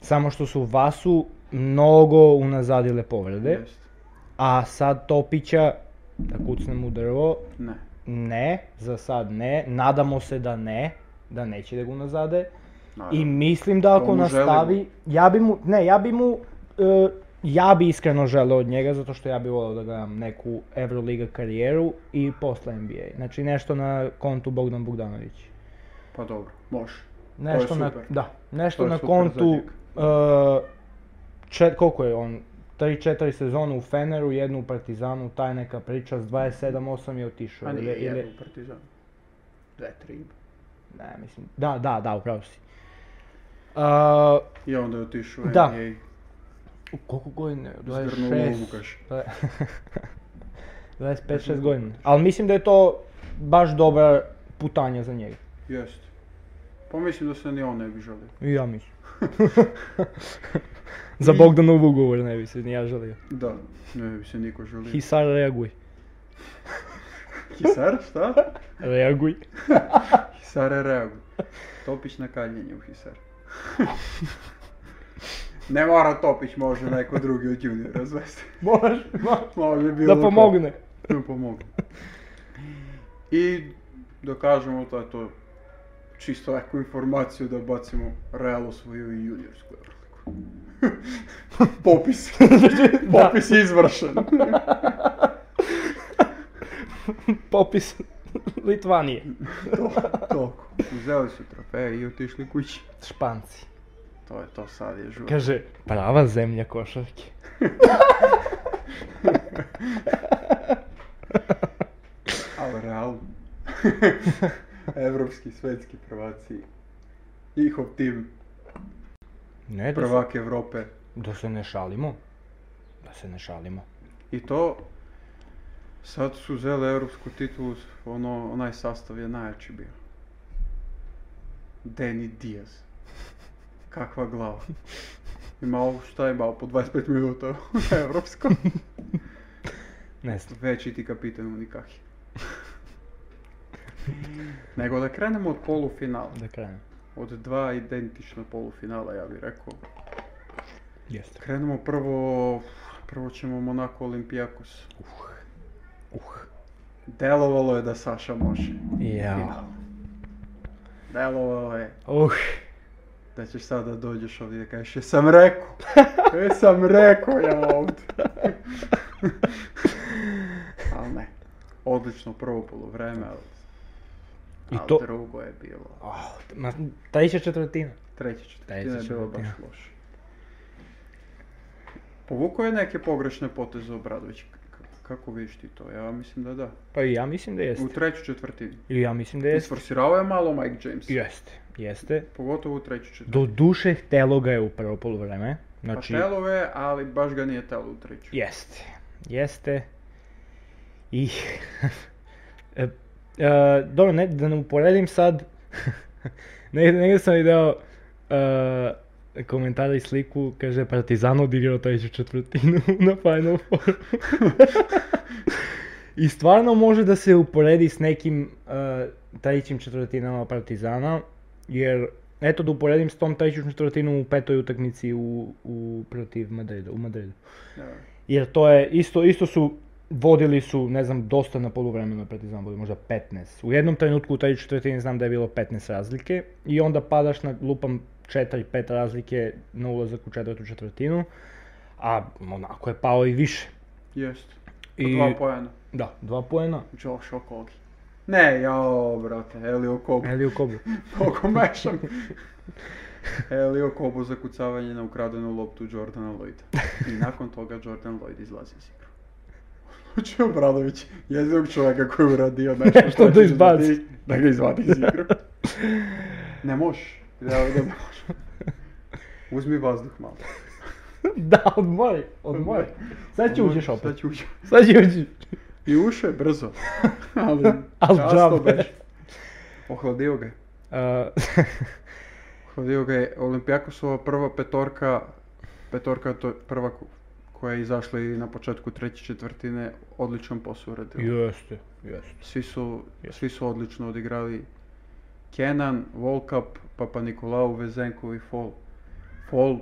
Samo što su Vasu mnogo unazadile povrede, Jest. a sad Topića, da kucnem u drvo, Ne. ne, za sad ne, nadamo se da ne, da neće da ga unazade. I naravno. mislim da To ako mu nastavi, želimo. ja bi mu, ne, ja bi mu, e, ja bi iskreno želeo od njega zato što ja bi voleo da gledam neku Euroliga karijeru i posle NBA. Znači nešto na kontu Bogdan Bogdanović. Pa dobro, može. To je Nešto na, super. da, nešto To je na super kontu, za e, čet, koliko je on, 3-4 sezonu u Feneru, jednu u Partizanu, taj neka priča, s 27-8 je otišao. A nije ili- ili- jedno u Partizanu. Dve, tri ima. ne, mislim, da, da, da, upravo si. E, A, I onda je otišao u Da. NBA. U koliko godina? je? Zgrnuo 26, lovu, kaže. dva- 25-6 godina. Ali mislim da je to baš dobra putanja za njega. Jest. Pa mislim da se ni on ne bi želio. I ja mislim. za Bogdanov ugovor ne bi se ni ja želio. Da, ne bi se niko želio. Hisar, reaguj. Hisar, šta? Reaguj. Hisar je reagu. Topić na kaljenje u Hisar. ne mora Topić, može neko drugi od juniora zvesti. Moraš, Može bilo da ko. pomogne. Da pomogne. I da kažemo to je to čisto neku informaciju da bacimo Real osvojio i juniorsku Euroligu. Popis. Popis je izvršen. Popis Litvanije. to, toliko. Uzeli su trofeje i otišli kući. Španci. to je to sad je žur. Kaže, prava zemlja košarke. Ali realno. Evropski, svetski prvaci. Njihov tim, Ne, da se, prvak Evrope. da se ne šalimo. Da se ne šalimo. I to, sad su zele evropsku titulu, ono, onaj sastav je najjači bio. Danny Diaz. Kakva glava. Imao, šta je imao, po 25 minuta na evropskom. Ne znam. Već i ti kapitan Unikahi. Nego da krenemo od polufinala. Da krenem. Od dva identična polufinala, ja bih rekao. Jeste. Krenemo prvo, prvo ćemo Monaco Olimpijakos. Uh. Delovalo je da Saša može. Ja. Final. Delovalo je Uh. da ćeš sada dođeš ovdje i da kažeš jesam rekao. Jesam rekao ja ovdje. ali ne. Odlično prvo polovreme, ali, I ali to... drugo je bilo. Oh, ma, ta iša četvrtina. Treća četvrtina je Treća bila baš četvrtina. loša. Povukao je neke pogrešne poteze Obradović. K- Kako vidiš ti to? Ja mislim da da. Pa i ja mislim da U jeste. trećoj četvrtini. I ja mislim da I jeste. sforsirao je malo Mike James. Jeste. Jeste. Pogotovo u trećoj četvrtini. Do duše htelo ga je u prvo polovreme. Znači, Pa telo je, ali baš ga nije telo u trećoj. jeste. Jeste. I... e, e, dobro, ne, da ne uporedim sad. ne, negdje sam video e, komentar i sliku, kaže Partizan odigrao treću četvrtinu na Final Fouru. I stvarno može da se uporedi s nekim e, trećim četvrtinama Partizana, jer eto da uporedim s tom trećom četvrtinom u petoj utakmici u, u protiv Madrida, u Madridu. Da. Jer to je, isto, isto su, vodili su, ne znam, dosta na poluvremenu Partizan, vodi možda 15. U jednom trenutku u trećoj četvrtini znam da je bilo 15 razlike i onda padaš na lupam 4-5 razlike na ulazak u četvrtu četvrtinu, a onako je pao i više. Jeste. Po I, Dva pojena. Znači, da, dva poena. Josh Okogi. Ne, jao, brate, Elio Kobo. Eli u kobu. Koliko mešam. Elio Kobo za kucavanje na ukradenu loptu Jordana Lloyda. I nakon toga Jordan Lloyd izlazi iz igru. Odlučio Obradović, jedinog čovjeka koji je uradio nešto Nešto da će da izbaci. ti- Da ga izvadi iz igru. Ne možeš. Ja ovdje ne možeš. Uzmi vazduh malo. da, odmori, odmori. Sad će uđeš Sad opet. će uđeš. Sad će uđeš. I ušao je brzo. Ali, Al časno džabe. beše. Ohladio ga je. Ohladio ga je Olimpijakosova prva petorka. Petorka to je prva ko- koja je izašla i na početku treće četvrtine. Odličan posao uradio. jeste, jeste. Svi su, Jeste. svi su odlično odigrali. Kenan, Volkap, Papa Nikolau, Vezenkov i Fol. Fol,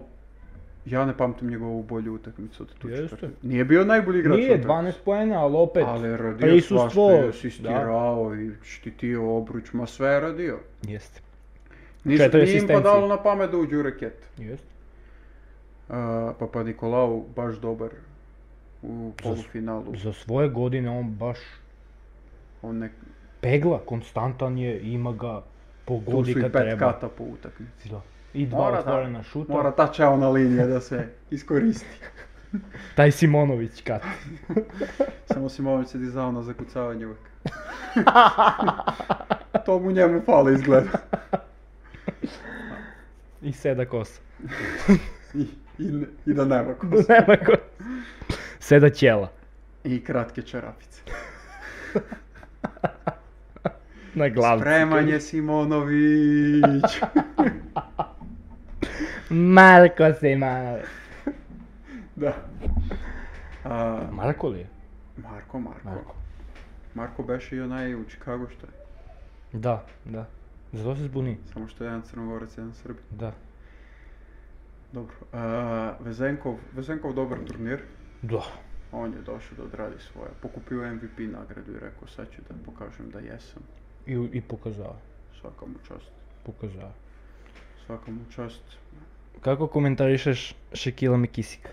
ja ne pamtim njegovu bolju utakmicu od tu Jeste. četvrtinu. Nije bio najbolji igrač. Nije, utakmice. 12 poena, ali opet, Ali je radio prisustvo, svašta i da. asistirao i štitio obruč, ma sve je radio. Jeste, Ništa Četiri nije im asistencije. padalo na pamet da uđu u reket. jeste. A, pa pa Nikolau baš dobar u polufinalu. Za svoje godine on baš On nek... pegla, konstantan je, ima ga, Tu su pogodi i pet kad treba. kata po utakmici. Da. I dva Mora da- otvorena šuta. Mora ta čelna linija da se iskoristi. Taj Simonović kat. Samo Simović se dizao na ono zakucavanje uvek. to mu njemu fali izgleda. I seda kosa. I, i, ne- i da nema kosu. Nema ko- Seda ćela. I kratke čarapice. Na glavi. Spremanje Simonović! Marko Simonović. Da. A, Marko li je? Marko, Marko. Marko, Marko. beše i onaj u Chicago što je. Da, da. Zato se zbuni. Samo što je jedan crnogorac, jedan srbin. Da. Dobro. A, Vezenkov, Vezenkov dobar turnir. Da. On je došao da odradi svoje. Pokupio je MVP nagradu i rekao sad ću da pokažem da jesam. I, i pokazao. Svaka mu čast. Pokazao. Svaka mu čast. Kako komentarišeš Šekila Mikisika?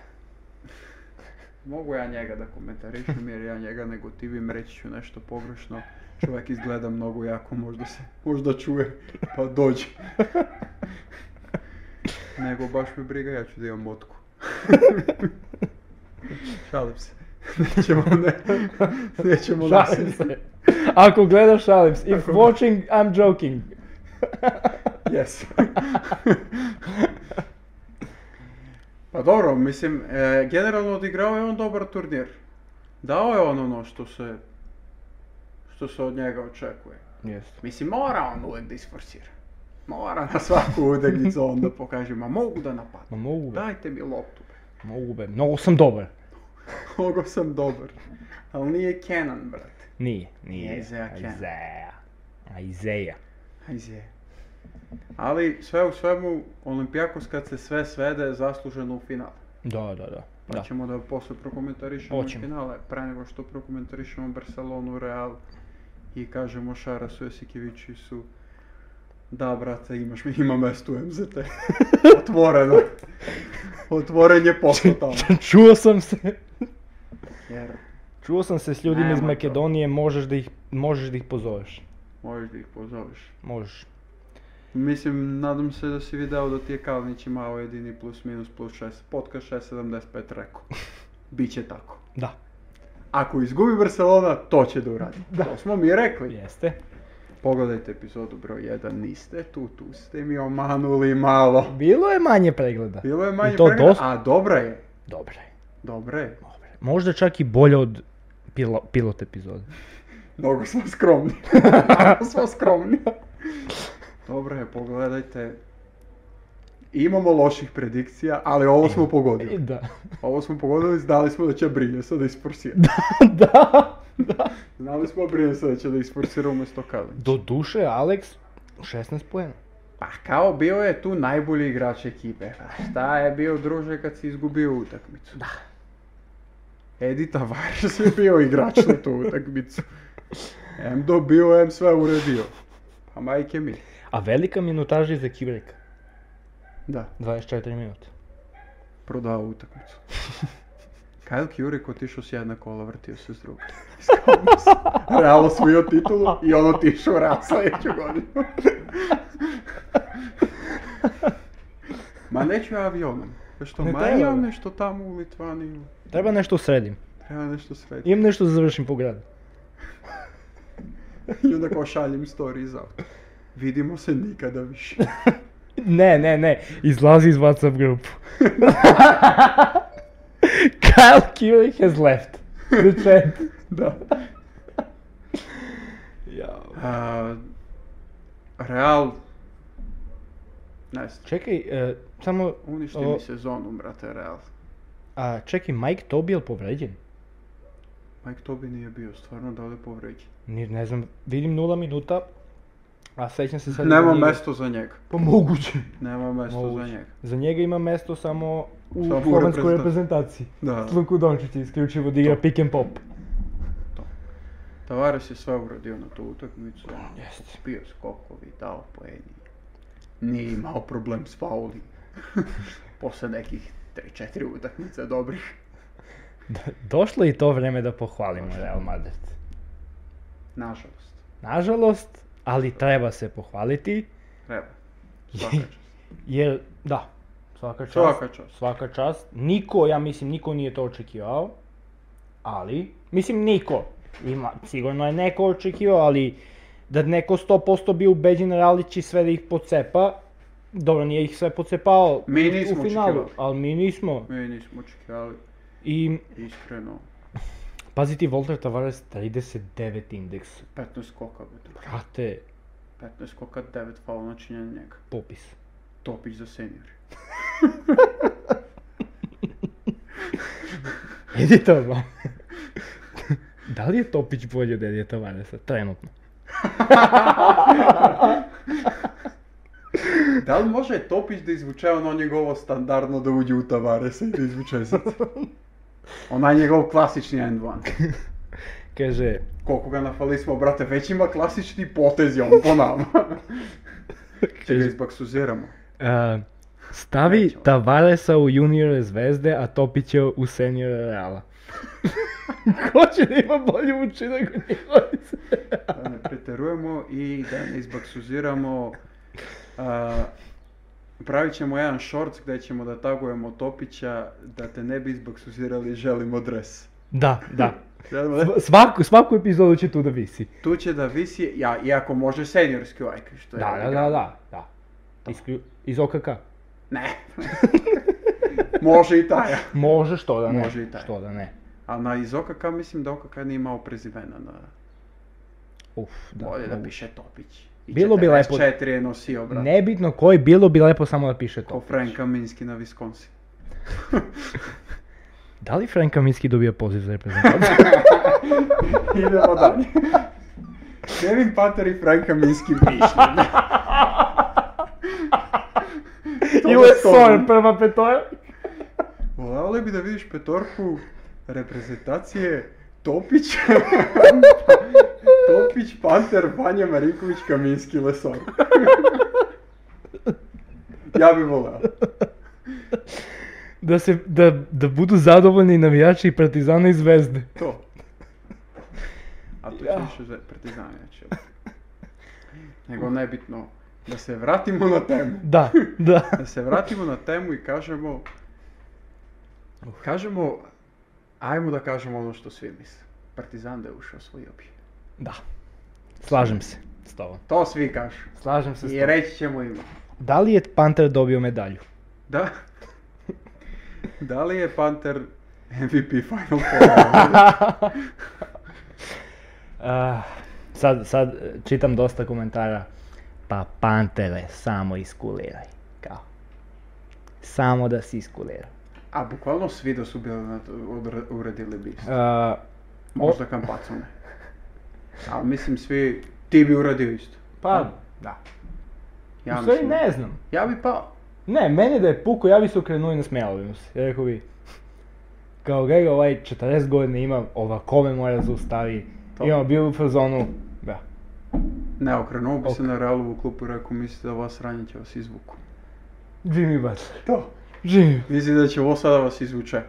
Mogu ja njega da komentarišem jer ja njega ne gotivim, reći ću nešto pogrešno. Čovjek izgleda mnogo jako, možda se, možda čuje, pa dođe. nego baš me briga, ja ću da imam motku. Šalim se. Nećemo, ne, nećemo Šalim nasilje. se. Ako gledaš, šalim se. If Ako- watching, I'm joking. Yes. pa dobro, mislim, e, generalno odigrao je on dobar turnir. Dao je on ono što se, što se od njega očekuje. Jeste. Mislim, mora on uvijek da isforsira. Mora na svaku udegnicu on da pokaže, ma mogu da napadam. Ma mogu be, Dajte mi loptu. bre. mogu be. Mnogo sam dobar. Mnogo sam dobar. Ali nije Kenan, brate. Nije, nije. Nije Isaiah Kenan. Isaiah. A Isaiah. Ajde. Ali sve u svemu, Olimpijakos kad se sve svede, zasluženo u final. Da, da, da. Pa da. ćemo da posle prokomentarišemo Hoćemo. finale, pre nego što prokomentarišemo Barcelonu, Real i kažemo Šarasu, Josikiviću su da, brate, imaš mi, ima mesto u MZT. Otvoreno. Otvoren je posao tamo. čuo sam se. Jer, Čuo sam se s ljudima Nema iz to. Makedonije, možeš da ih, možeš da ih pozoveš. možeš da ih pozoveš. Možeš. Mislim, nadam se da si video da ti je Kalnić imao jedini plus minus plus 6, podcast 675 rekao. Biće tako. Da. Ako izgubi Barcelona, to će da uradi. Da. To smo mi rekli. Jeste. Pogledajte epizodu broj 1, niste tu, tu ste mi omanuli malo. Bilo je manje pregleda. Bilo je manje to pregleda, dosta. a dobra je. Dobro je, Dobra je. dobro je. Možda čak i bolje od pilo- pilot epizode. Mnogo smo skromni. Mnogo smo skromni. Dobra je, pogledajte. Imamo loših predikcija, ali ovo E. smo pogodili. Da. Ovo smo pogodili, znali smo da će Brinjesa da isforsira. da. da. Znali smo Brinjesa da će da isforsira umjesto Kalinića. Do duše, Alex, 16 poena. Pa kao bio je tu najbolji igrač ekipe. Pa šta je bio druže kad si izgubio utakmicu? Da. Edi Tavares je bio igrač na tu utakmicu. M dobio, M sve uredio. Pa majke mi. A velika minutaža je za Kibreka. Da, 24 minuta. prodao utakmicu. Kyle Kjurik otišao s jedna kola, vrtio se s druge. Real osvojio titulu i on otišao u Real sljedeću godinu. Ma neću ja avionom. Što Ne ma treba, imam bre. nešto tamo u Litvaniju. Treba nešto sredim. Treba nešto srediti. Imam nešto da završim po gradu. I onda kao šaljem story iz auta. Vidimo se nikada više. Ne, ne, ne, izlazi iz WhatsApp grupu. Kyle Keurig has left the chat. da. Jao. A, Real... Ne znam. Čekaj, e, samo, Uništi O. mi sezonu, brate, Real. a čekaj, Mike Toby je li povređen? Mike Tobin nije bio, stvarno da li je povređen? Ni, ne znam, vidim nula minuta, a sećam se sad... Nema za njega. mesto za njega. Pa moguće. Nema mesto Moguće. za njega. Za njega ima mesto samo u Samo u slovenskoj reprezentaciji. reprezentaciji. Da. Luku Dončić je isključivo da igra pick and pop. Tavares je sve uradio na tu utakmicu. on je Jeste. Bio skokovi, dao poeni. Nije imao problem s fauli. Posle nekih 3-4 utakmice dobrih. Do- Došlo je i to vreme da pohvalimo Real Madrid. Nažalost. Nažalost, ali treba se pohvaliti, Treba. Svaka čast. jer da, svaka čast. Svaka čast. svaka čast. Niko, ja mislim, niko nije to očekivao, ali, mislim niko, ima, sigurno je neko očekivao, ali da neko 100% bio ubeđen Real će sve da ih pocepa, dobro, nije ih sve pocepao Mi u- nismo u finalu, očekivali. ali mi nismo. Mi nismo očekivali, I, iskreno. paziti, Volter Tavares 39 indeks, 15 skoka, brate. brate, 15 skoka, 9 faul načinja na njega. popis. Topić za senior. Edi Tavares. da li je Topić bolji od Edija Tavaresa? Trenutno. Da li može Topić da izvuče ono njegovo standardno da uđe u Tavaresa i da izvuče sad? Onaj njegov klasični end one. Kaže, Koliko ga nafali smo, brate, već ima klasični potez je on po nama. Če ga izbaksuziramo. e, stavi Nećemo. Tavaresa u juniore zvezde, a Topića u seniore reala. Ko će da ima bolji učinak od njegove Da ne preterujemo i da ne izbaksuziramo a, Pravit ćemo jedan short gdje ćemo da tagujemo Topića da te ne bi izbaksuzirali želimo dres. Da, da. Želimo Sva- Svaku, svaku epizodu će tu da visi. Tu će da visi, ja, iako može seniorski like, što je... Da, da, da, da. da. Isklju- iz OKK. Ne. može i taj. Može što da ne. Može i taj. Što da ne. A na iz OKK mislim da OKK nije imao prezimena na... Uf, da. Bolje da mogu. piše Topić. I Bilo bi lepo- 44 je nosio, brat. Nebitno koji bilo bi lepo samo da piše Ko to. Frank Kaminski na Wisconsin. Da li Frank Kaminski dobija poziv za reprezentaciju? Idemo dalje. Kevin Pater i Frank Kaminski mišljenje. To je to. prema petoja. Volao bi da vidiš petorku reprezentacije Topić, Topić, Panter, Vanja Marinković, Kaminski, Lesor. ja bi volao. Da, se, da, da budu zadovoljni i navijači i partizana i zvezde. To. A to Ja. će više za partizan, znači. Nego nebitno. Da se vratimo na temu. Da, da. Da se vratimo na temu i kažemo... Kažemo... Ajmo da kažemo ono što svi misle. Partizan da je ušao svoj bi. Da. Slažem se s tobom. To svi kažu. Slažem se s I tobom. reći ćemo im. Da li je Panter dobio medalju? Da? Da li je Panter MVP Final Four? Ah, sad, sad eh, čitam dosta komentara. Pa Pantere, samo iskuliraj. Kao. Samo da si iskulirao. A bukvalno svi da su bili na to, odra- uredili bi. isto. Ah, Možda Kampacu ne. Ali mislim svi, ti bi uradio isto. pa, da. Ja U stvari mislim- ne znam. Ja bi pa, pao. Ne, meni da je puko, ja bi se okrenuo i nasmijao bi mu se. Rekao bi, kao ga ovaj 40 godina ima, ovakove mora zaustavi. To. Imamo bio u fazonu, da. Ne, okrenuo bi se Ok. na Realovu klupu i rekao, mislite da vas sranje će vas izvuku. Jimmy Butler. To. Jimmy. Mislim da će ovo sada vas izvuče.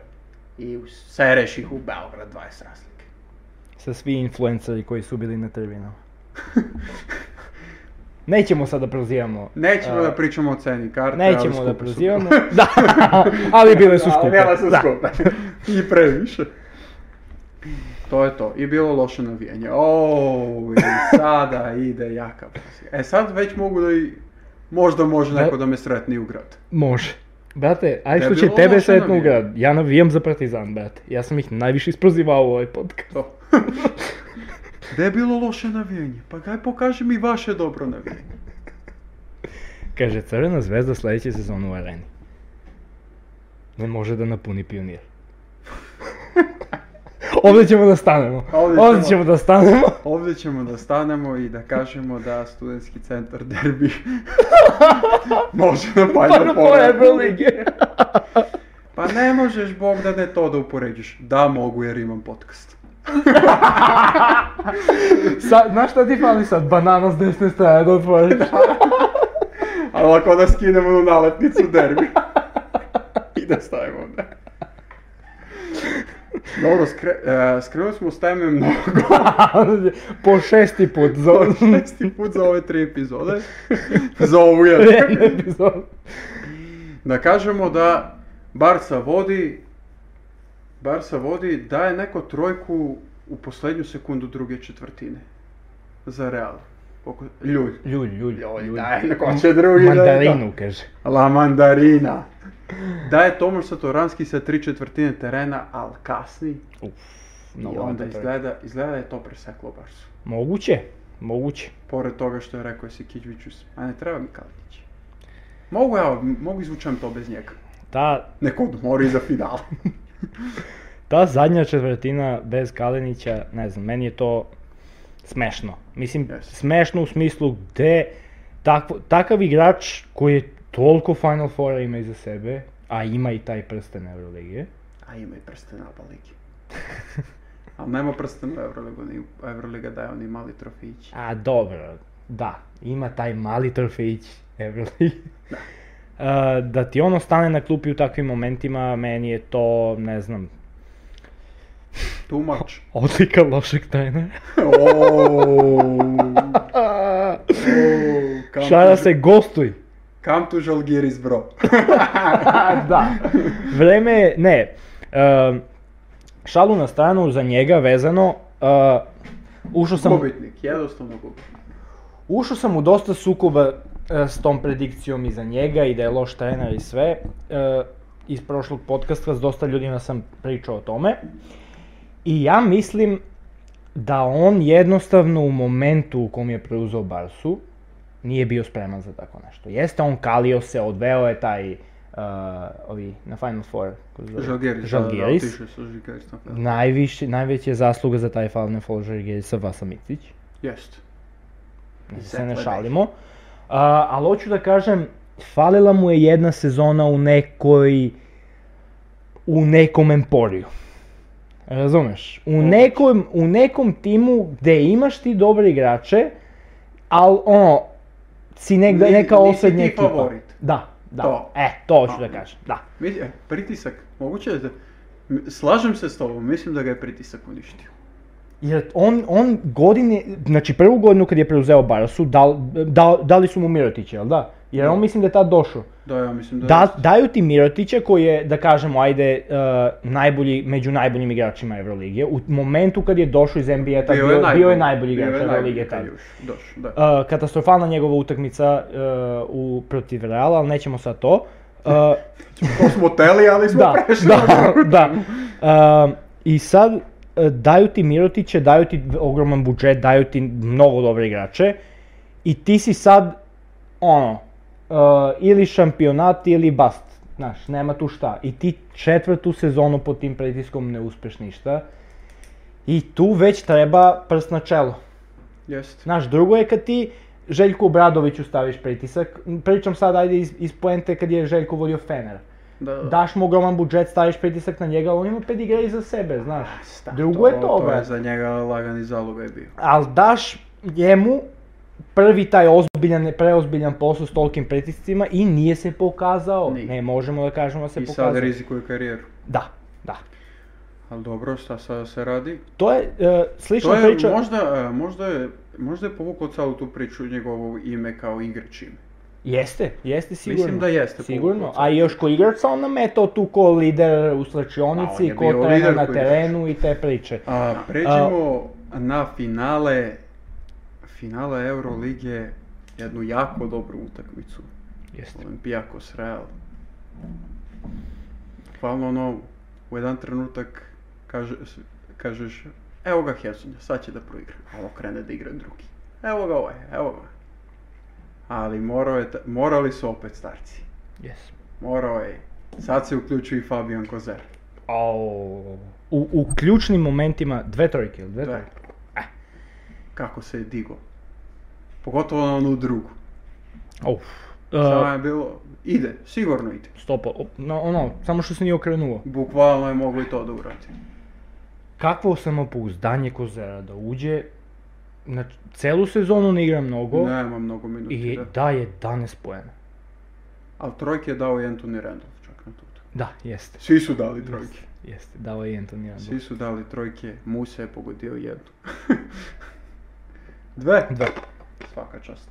I sereš ih u Beograd 20 razlike. Sa svi influenceri koji su bili na tribinama. Nećemo sad da prozivamo. Nećemo a, da pričamo o ceni karte, Nećemo da prozivamo. Da, ali bile su skupe. Bile su da. skupe. I previše. To je to. I bilo loše navijanje. O, i sada ide jaka pozicija. E sad već mogu da i... Možda može Da. neko da me sretni u grad. Može. Brate, aj Da što je će bilo tebe loše sretno u navijanje. grad. Ja navijam za Partizan, brate. Ja sam ih najviše isprozivao u ovaj podcast. To. Gde je bilo loše navijanje? Pa daj pokaži mi vaše dobro navijanje. Kaže, Crvena zvezda sljedeće sezon u areni. Ne može da napuni pionir. Ovdje ćemo da stanemo. Ovdje Ovdje, ćemo. ćemo da stanemo. Ovdje ćemo da stanemo i da kažemo da studentski centar derbi može na Final Four Four. Evrolige. Pa ne možeš, Bog da ne to da upoređiš. Da mogu jer imam podcast. Sa- Znaš šta ti fali sad? Banana s desne strane da otvoriš. Ali ako da skinemo na naletnicu derbi. I da stavimo onda. Dobro, skre, e, skrenuli smo s teme mnogo. po šesti put za To je šesti put za ove tri epizode. za ovu jednu. jedan epizod. Da kažemo da Barca vodi, Barca vodi, daje neko trojku u posljednju sekundu druge četvrtine. Za Real. Oko, ljulj. Ljulj, ljulj, Ljulj, ljulj. daj, neko će drugi da- Mandarinu, kaže. La mandarina. Daje Tomoš Satoranski sa tri četvrtine terena, ali kasni. Uf, I no, onda izgleda, izgleda da je to preseklo Barsu. Moguće, moguće. Pored toga što je rekao si Kićviću, a ne treba mi Kalinić. Mogu ja, mogu izvučem to bez njega. Ta, Neko odmori za final. ta zadnja četvrtina bez Kalenića, ne znam, meni je to smešno. Mislim, Yes. smešno u smislu gde takvo- takav igrač koji je toliko Final Foura ima iza sebe, a ima i taj prsten Euroligije, A ima i prsten na ligi. Ali nema prsten u Euroligu, ni Euroliga daje oni mali trofići. A dobro, da, ima taj mali trofejić Everly. Da. da ti ono stane na klupi u takvim momentima, meni je to, ne znam, Too much. odlika lošeg trenera. Oooo, A, oooo, Šara se gostuj. Come to Žalgiris, bro. da. Vreme je, ne, e, šalu na stranu za njega vezano, e, ušao sam, Gubitnik, jednostavno gubitnik. ušao sam u dosta sukoba e, s tom predikcijom i za njega i da je loš trener i sve. E, iz prošlog podcasta s dosta ljudima sam pričao o tome. I ja mislim da on jednostavno u momentu u kom je preuzeo Barsu nije bio spreman za tako nešto. Jeste, on kalio se, odveo je taj e, ovi, na Final Four. kako se zove? Žalgiris, da, da, Žalgiris. otišao je sa Žalgirisom. da. Najviše, najveća je zasluga za taj Final Four Žalgirisa Vasa Micić. Jest. Da se Exactly. ne šalimo. A, ali hoću da kažem, falila mu je jedna sezona u nekoj, u nekom emporiju. Razumeš? U nekom, u nekom timu gde imaš ti dobre igrače, ali ono, si negde, Ni- neka nisi osrednja ti ekipa. favorit. Da, da. To. E, to hoću To. da kažem, da. Vidi, e, pritisak, moguće je da... M- Slažem se s tobom, mislim da ga je pritisak uništio. Jer on, on godine, znači prvu godinu kad je preuzeo Barsu, dal- dal- dali su mu Mirotića, jel da? Jer on mislim da je tad došao. Da, ja mislim da... Da, daju ti Mirotića koji je, da kažemo, ajde, e, najbolji, među najboljim igračima Evrolige. U momentu kad je došao iz NBA, tad bio, bio, je, najbolji bio je igrač najbolji Evrolige kad tad. je ušao, došao, da. E, katastrofalna njegova utakmica e, u, protiv Reala, ali nećemo sad to. E, To smo teli, ali smo da, prešli. da, da. Um, I sad e, daju ti Mirotiće, daju ti ogroman budžet, daju ti mnogo dobre igrače i ti si sad ono, e, ili šampionat ili bast, znaš, nema tu šta. I ti četvrtu sezonu pod tim pritiskom ne uspeš ništa i tu već treba prst na čelo. Jest. Znaš, drugo je kad ti Željku Obradoviću staviš pritisak, pričam sad ajde iz, iz poente kad je Željko vodio Fener Da, da. daš mu ogroman budžet, staviš pritisak na njega, ali on ima pedigre iza sebe, znaš. Sta, Drugo je to, To bro. je za njega lagani zalogaj bio. Ali daš njemu prvi taj ozbiljan, preozbiljan posao s tolkim pritiscima i nije se pokazao. Nije. Ne možemo da kažemo da se I sad pokazao. rizikuje karijeru. Da, da. Ali dobro, šta sada se radi? To je e, slična To je priča. možda, e, možda je, možda je povukao celu tu priču njegovo ime kao igrač ime. Jeste, jeste sigurno. Mislim da jeste. Sigurno, povukao a celu- još ko igrač se on nametao tu ko lider u A, Pa, on slačionici, je ko bio trener lider na ko terenu i te priče. A, pređemo na finale, finale Eurolige, jednu jako dobru utakmicu. Jeste. Olimpijakos Real. Hvalno ono, u jedan trenutak kaže, s- kažeš, evo ga Hesonja, sad će da proigra. A ovo krene da igra drugi. Evo ga ovaj, evo ga. Ali morao je, ta- morali su opet starci. Yes. Morao je. Sad se uključio i Fabian Kozer. U, u ključnim momentima, dve trojke, ili dve Da. trojke? E Eh, Kako se je digo. Pogotovo na onu drugu. Uf. E, Samo je bilo, ide, sigurno ide. stopa, op- no, ono, samo što se nije okrenuo. Bukvalno je moglo i to da uradi. Kakvo samopouzdanje Kozera da uđe, znači, celu sezonu ne igra mnogo Nema mnogo minuti. i da. da je 11 poena. Ali trojke je dao i Anthony Randolph čak na tu utakmicu. Da, jeste. Svi su dali trojke. Jeste, dao je i Anthony Svi Randolph. su dali trojke, Musa je pogodio jednu. Dve. Da. Svaka čast.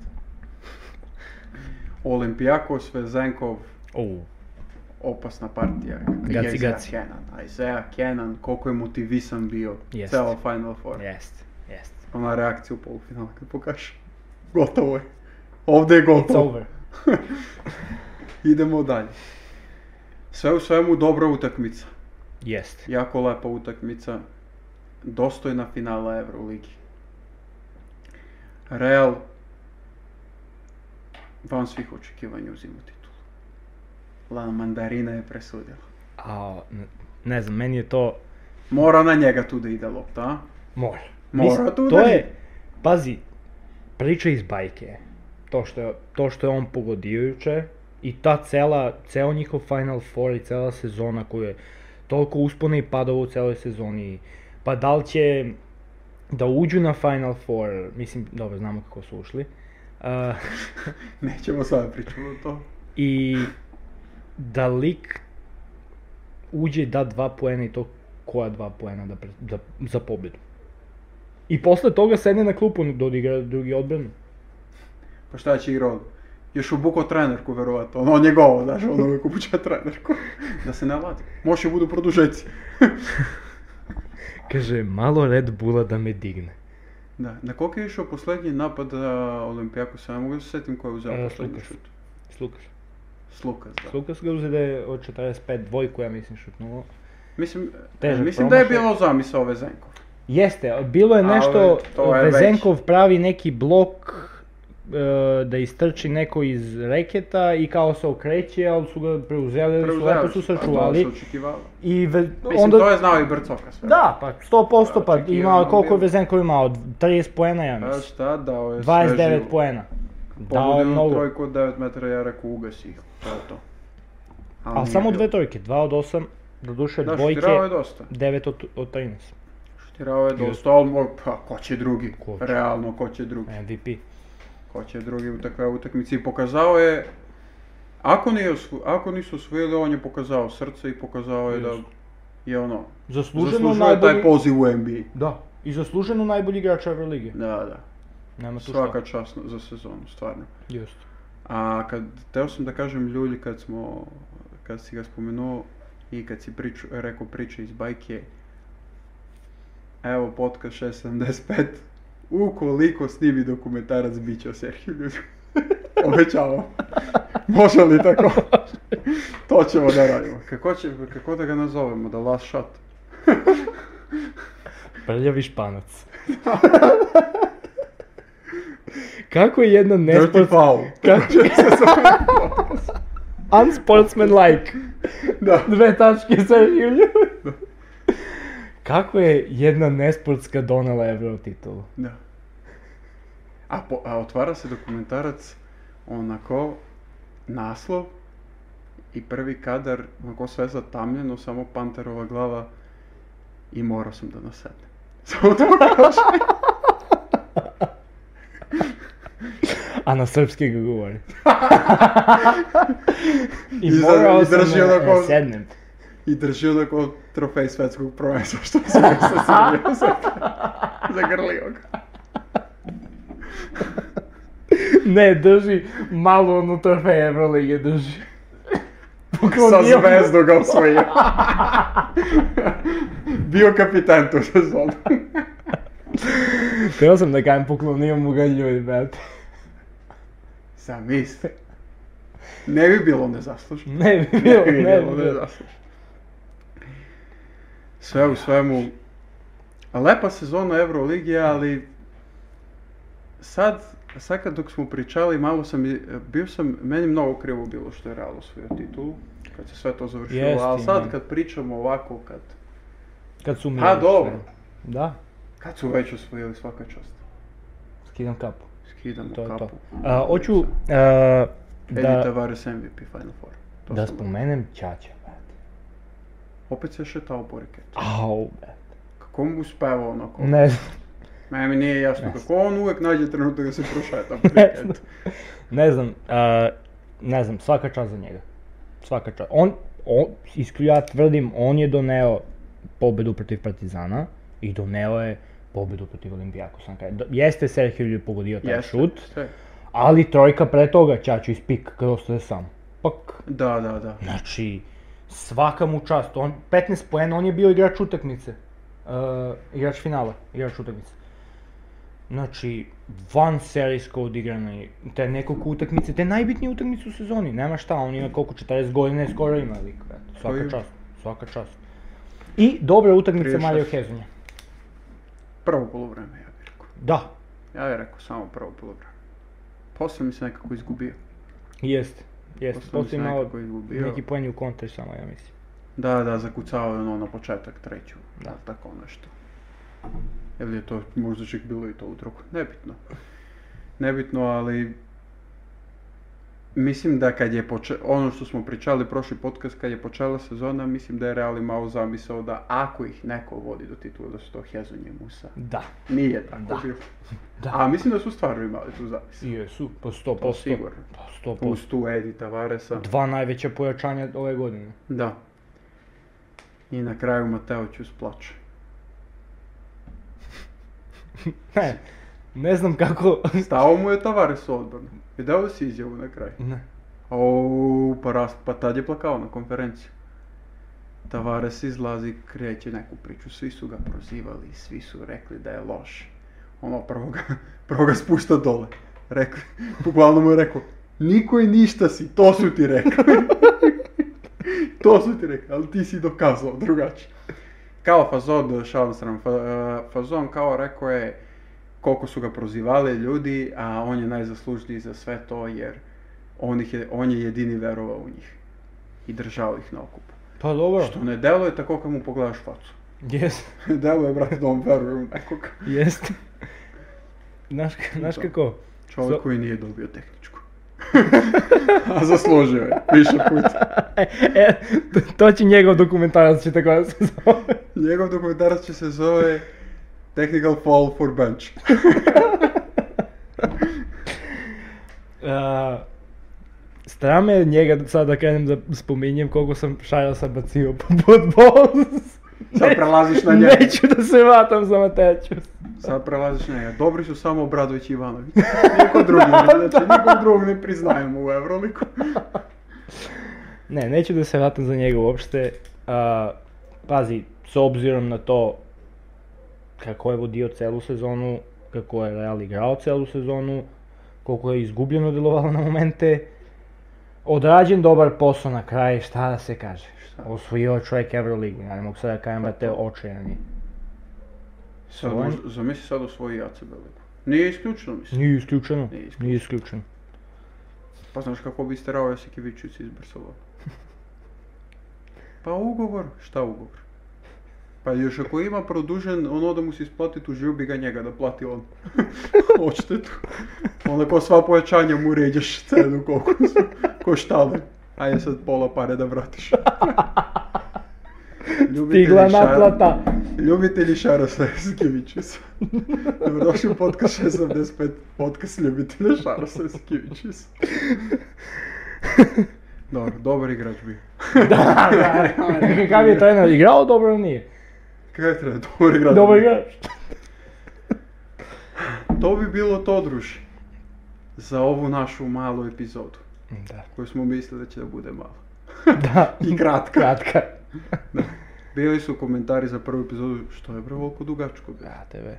Olimpijakos, Vezenkov, Oh. opasna partija. Gaci, Isaiah gaci. Kenan, Isaiah Kenan, koliko je motivisan bio. Jest. Celo Final Four. Jeste, jeste. Ona reakcija u polufinalu kad pokaže. Gotovo je. Ovdje je It's gotovo. over. Idemo dalje. Sve u svemu dobra utakmica. Jeste. Jako lepa utakmica. Dostojna finala Euroligi. Real van svih očekivanja uzima titulu. La Mandarina je presudila. A, n- ne znam, meni je to... Mora na njega tu da ide lopta, a? Mora. Mora Mislim, tu to da je, ide. pazi, priča iz bajke. je. To što je, to što je on pogodio juče i ta cela, ceo njihov Final Four i cela sezona koja je toliko uspona i padova u celoj sezoni. Pa da li će da uđu na Final Four, mislim, dobro, znamo kako su ušli. A, Nećemo sada pričati o to. I da lik uđe da dva poena i to koja dva poena da, pre- da, za pobjedu. I posle toga sedne na klupu da odigra drugi odbranu. Pa šta će igrao? Još obuko trenerku, verovatno. Ono njegovo, znaš, ono uvijek obuča trenerku. Da se navadi. Može budu produžeci. Каже, мало Ред Була да ме дигне. Da. Na koliko je išao posljednji napad za Olimpijaku? Sam mogu da se setim ko je uzeo E, posljednji Slukas. šut. Слукаш. Slukas, da. Слукаш го взеде од 45 двојку, ја мислим шутнуло. Mislim, e, Težak mislim da je promašaj. bilo zamisao Vezenkov. Jeste, bilo je Ali nešto, to je već- Vezenkov pravi neki blok e, da istrči neko iz reketa i kao se okreće, ali su ga preuzeli, E, su lepo su Pa, sačuvali. to se očekivalo. I ve- Mislim, onda... to je Znači, znao i Brcoka sve. Da, pa 100% pa Očekivano imao je koliko bilo. je Vezenkov imao, 30 poena ja A mislim, E, šta, dao je Znači, sve 29 živo. poena. Dao je Pogodilo mnogo, trojku od 9 metara, ja rekao ugasi ih, to je to. ali nije samo bilo. dve trojke, 2 od 8, doduše Da, dvojke, šutirao je dosta. 9 od, od 13, Šutirao je Ili- dosta, ali mo- pa ko će drugi? Ko će? E. Realno, ko će drugi? MVP. Ko će drugi u takve utakmici? I pokazao je, ako, nije osvo- ako nisu osvojili, on je pokazao srce i pokazao je da Jasno. je ono, Zasluženo zaslužuje taj najbolji... poziv u NBA. Da, i zasluženo najbolji igrač Evrolige. Da, da. Nema tu Svaka šta. čast za sezonu, stvarno. Just. A kad, teo sam da kažem ljudi kad smo, kad si ga spomenuo i kad si priču, rekao priče iz bajke, evo podcast 675, ukoliko snimi dokumentarac bit će o Serhiju ljudi. Obećavam. Može li tako? to ćemo da radimo. Kako, će, kako da ga nazovemo? The Last Shot? Prljavi španac. Kako je jedna Dirty nesport... Foul. Kako Će se zove podcast. Unsportsmanlike. Da. Dve tačke za Julju. Kako je jedna nesportska donela Euro titulu? Da. A, po, a otvara se dokumentarac onako naslov i prvi kadar onako sve zatamljeno, samo panterova glava i morao sam da nasednem. Samo to kaže. A na srpski ga govori. I I za- morao i sam drži na- onako- na sednem. I drži onako trofej svetskog prvenstva što se je sa Srbijom za- zagrlio ga. Ne, drži malo ono trofej Evrolige, drži. Sa Poklonio mu. zvezdu ga osvojio. Bio kapitan tu sezonu. Htio sam da kažem poklonio mu ga ljudi, brate. Zamisli. Ne bi bilo nezaslužno. Ne bi bilo, ne bi да. bilo. Sve u svemu, lepa sezona Euroligije, ali sad, sad kad dok smo pričali, malo sam, i- bio sam, meni mnogo krivo bilo što je Real osvojio titulu, kad se sve to završilo, Jest, ali sad ima. kad pričamo ovako, kad, Kad su mi... Pa dobro. Da, kad su već osvojili svaka čast, skidam kapu. skidamo To je kapu. to. A, hoću a, Edi da, Tavares MVP Final Four. To da sam- spomenem Čača, brate. Opet se šetao po reketu. Au, brate. Kako mu uspeva pa onako? Ne znam. Meni nije jasno Jasno. kako on uvijek nađe trenutak da se prošeta pa po Ne znam. reketu. Ne znam, a, ne znam, svaka čast za njega. Svaka čast. On, on, iskreno ja tvrdim, on je doneo pobedu protiv Partizana i doneo je pobedu protiv Olimpijakosa. na kraju. Do- Jeste Sergio Lju pogodio taj Jeste, šut, sve. ali trojka pre toga Čaču iz pik kada ostaje sam. Pak, Da, da, da. znači, svaka mu čast. On, 15 poena, on je bio igrač utakmice. Uh, igrač finala, igrač utakmice. Znači, van serijsko odigrano je, te nekoliko utakmice, te najbitnije utakmice u sezoni, nema šta, on ima koliko, 40 godina je skoro ima lik, brate. svaka Koji- čast, svaka čast. I dobra utakmica 36. Mario Hezonja. Prvo polovreme, ja bih rekao. Da, Ja bih rekao samo prvo polovreme. Posle mi se nekako izgubio. jeste, jeste, Posle mi se postoji malo nekako izgubio. neki poen u kontri samo, ja mislim. Da, da, zakucao je ono na početak treću. Da. Da. Tako nešto. Ili je to možda čak bilo i to u drugu. Nebitno. Nebitno, ali... Mislim da kad je poče... ono što smo pričali prošli podcast, kad je počela sezona, mislim da je Real imao zamisao da ako ih neko vodi do titula, da su to Hezon i Musa. Da, Nije tako Da. bilo. Da. A mislim da su stvarno imali tu zamisao. jesu, po 100%. To Pa sigurno. Po 100%. Uz tu Edi Tavaresa. Dva najveća pojačanja ove godine. Da. I na kraju Mateo ću plače. Ne, Ne znam kako... Стao mu je Tavares odbrana. I dao si izjavu na kraju. Ne. O, pa, ras, pa tad je plakao na konferenciji. Tavares izlazi, kreće neku priču, svi su ga prozivali, svi su rekli da je loš. Ono, prvo ga, prvo ga spušta dole. Rekli, uglavnom mu je rekao, niko i ništa si, to su ti rekli. to su ti rekli, ali ti si dokazao drugačije. Kao fazon, šalim se nam, fa- e, fazon kao rekao je koliko su ga prozivali ljudi, a on je najzaslužniji za sve to jer on, ih je, on je jedini verovao u njih i držao ih na okupu. Pa dobro. Što ne deluje tako kad mu pogledaš facu. Jes, deluje, brate, da on veruje u nekog. jest. Znaš, k- znaš Da. kako? Čovjek So- koji nije dobio tehničku. a zaslužio je, više puta. E, to, to će njegov dokumentarac će tako da se zove. Njegov dokumentarac će se zove Technical Fall for Bench. A, Strah me je njega sad da krenem da spominjem koliko sam šajasa bacio po podbol. Sad prelaziš na njega. Neću da se vatam za Mateću. Sad prelaziš na njega. Dobri su samo Obradović i Ivanović. Niko drugi, ne- znači nikog drugog ne priznajemo u Euroliku. Ne, neću da se vratim za njega uopšte. A, pazi, s obzirom na to kako je vodio celu sezonu, kako je Real igrao celu sezonu, koliko je izgubljeno delovalo na momente, odrađen dobar posao na kraj, šta da se kaže. Šta? Osvojio je čovjek Euroligu, ja ne mogu sad da kažem Pa da te očajani. Sad, Svoj- možda- zamisli sad osvoji ACB ligu. Nije isključeno, mislim. Nije isključeno, Nije isključeno. nije isključeno. Pa znaš kako bi isterao Josikivičius iz Barcelona? Pa ugovor, šta ugovor? Pa još ako ima produžen, ono da mu se isplati, tužio bi ga njega da plati on. Odštetu. Onda ko sva pojačanja mu ređeš cenu koliko su, ko štale. Ajde sad pola pare da vratiš. Ljubitelji Stigla šar- naplata. Ljubitelji Šarosa Josikivičiusa. Dobrodošli u podcast 65, podcast ljubitelja Šarosa Josikivičiusa. Dobro, dobar igrač bio. da, da, kakav je trener, igrao dobro ili nije? Kaj je treba, dobar igrač. Dobar bio. igrač. To bi bilo to, druži. Za ovu našu malu epizodu, Da, koju smo mislili da će da bude malo. da, I kratka. kratka. Bili su komentari za prvu epizodu, što je vrevolko dugačko bilo. Da, tebe.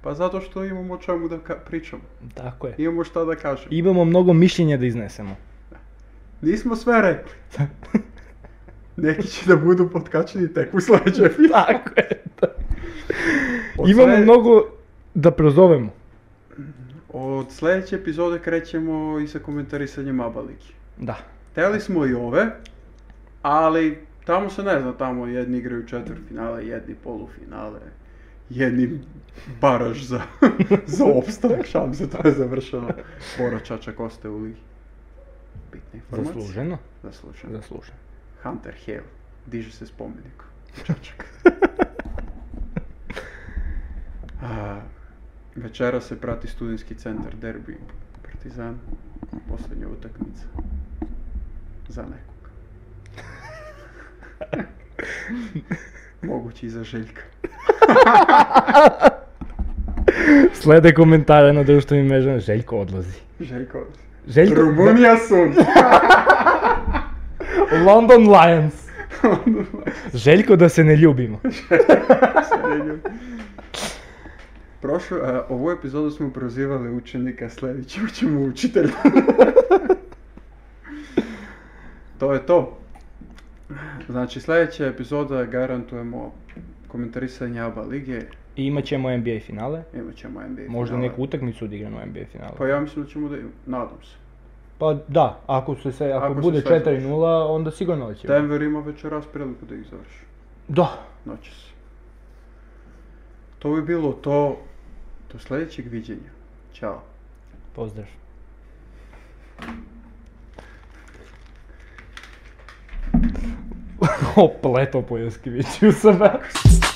Pa zato što imamo o čemu da ka- pričamo. Tako je. Imamo šta da kažemo. Imamo mnogo mišljenja da iznesemo. Nismo sve rekli. Neki će da budu potkačeni tek u sljedećoj epizodi. Tako je. Od Imamo slede- mnogo da prozovemo. Od sljedeće epizode krećemo i sa komentarisanjem Abaliki. Da. Teli smo i ove, ali tamo se ne zna, tamo jedni igraju četvrtfinale, jedni polufinale, jedni baraž za, za opstanak, šalim se, to je završeno. Bora Čačak ostaje u ligi. Bitna informacija. Zasluženo. Zasluženo. Zasluženo. Hunter Hale, diže se spomenik. Čačak. A, večera se prati studentski centar derbi Partizan, posljednja utakmica za nekog. Moguće i za Željka. Slede komentare na društvenim mrežama. Željko odlazi. Željko. Željko... Rumunija sun! London Lions. Željko da se ne ljubimo. Prošlo, a, ovu epizodu smo prozivali učenika, sljedeći učimo učitelja. to je to. Znači, sljedeća epizoda garantujemo komentarisanje ABA lige, I imat ćemo NBA finale. imat ćemo NBA Možda finale. neku utakmicu odigranu u NBA finalu. Pa ja mislim da ćemo da imamo, nadam se. Pa da, ako, se, se, ako, Ako se bude sve 4-0, onda sigurno da ćemo. Denver ima večeras priliku da ih završi. Da. noćas. To bi bilo to. Do sljedećeg viđenja. Ćao. Pozdrav. Opleto po Joskiviću sa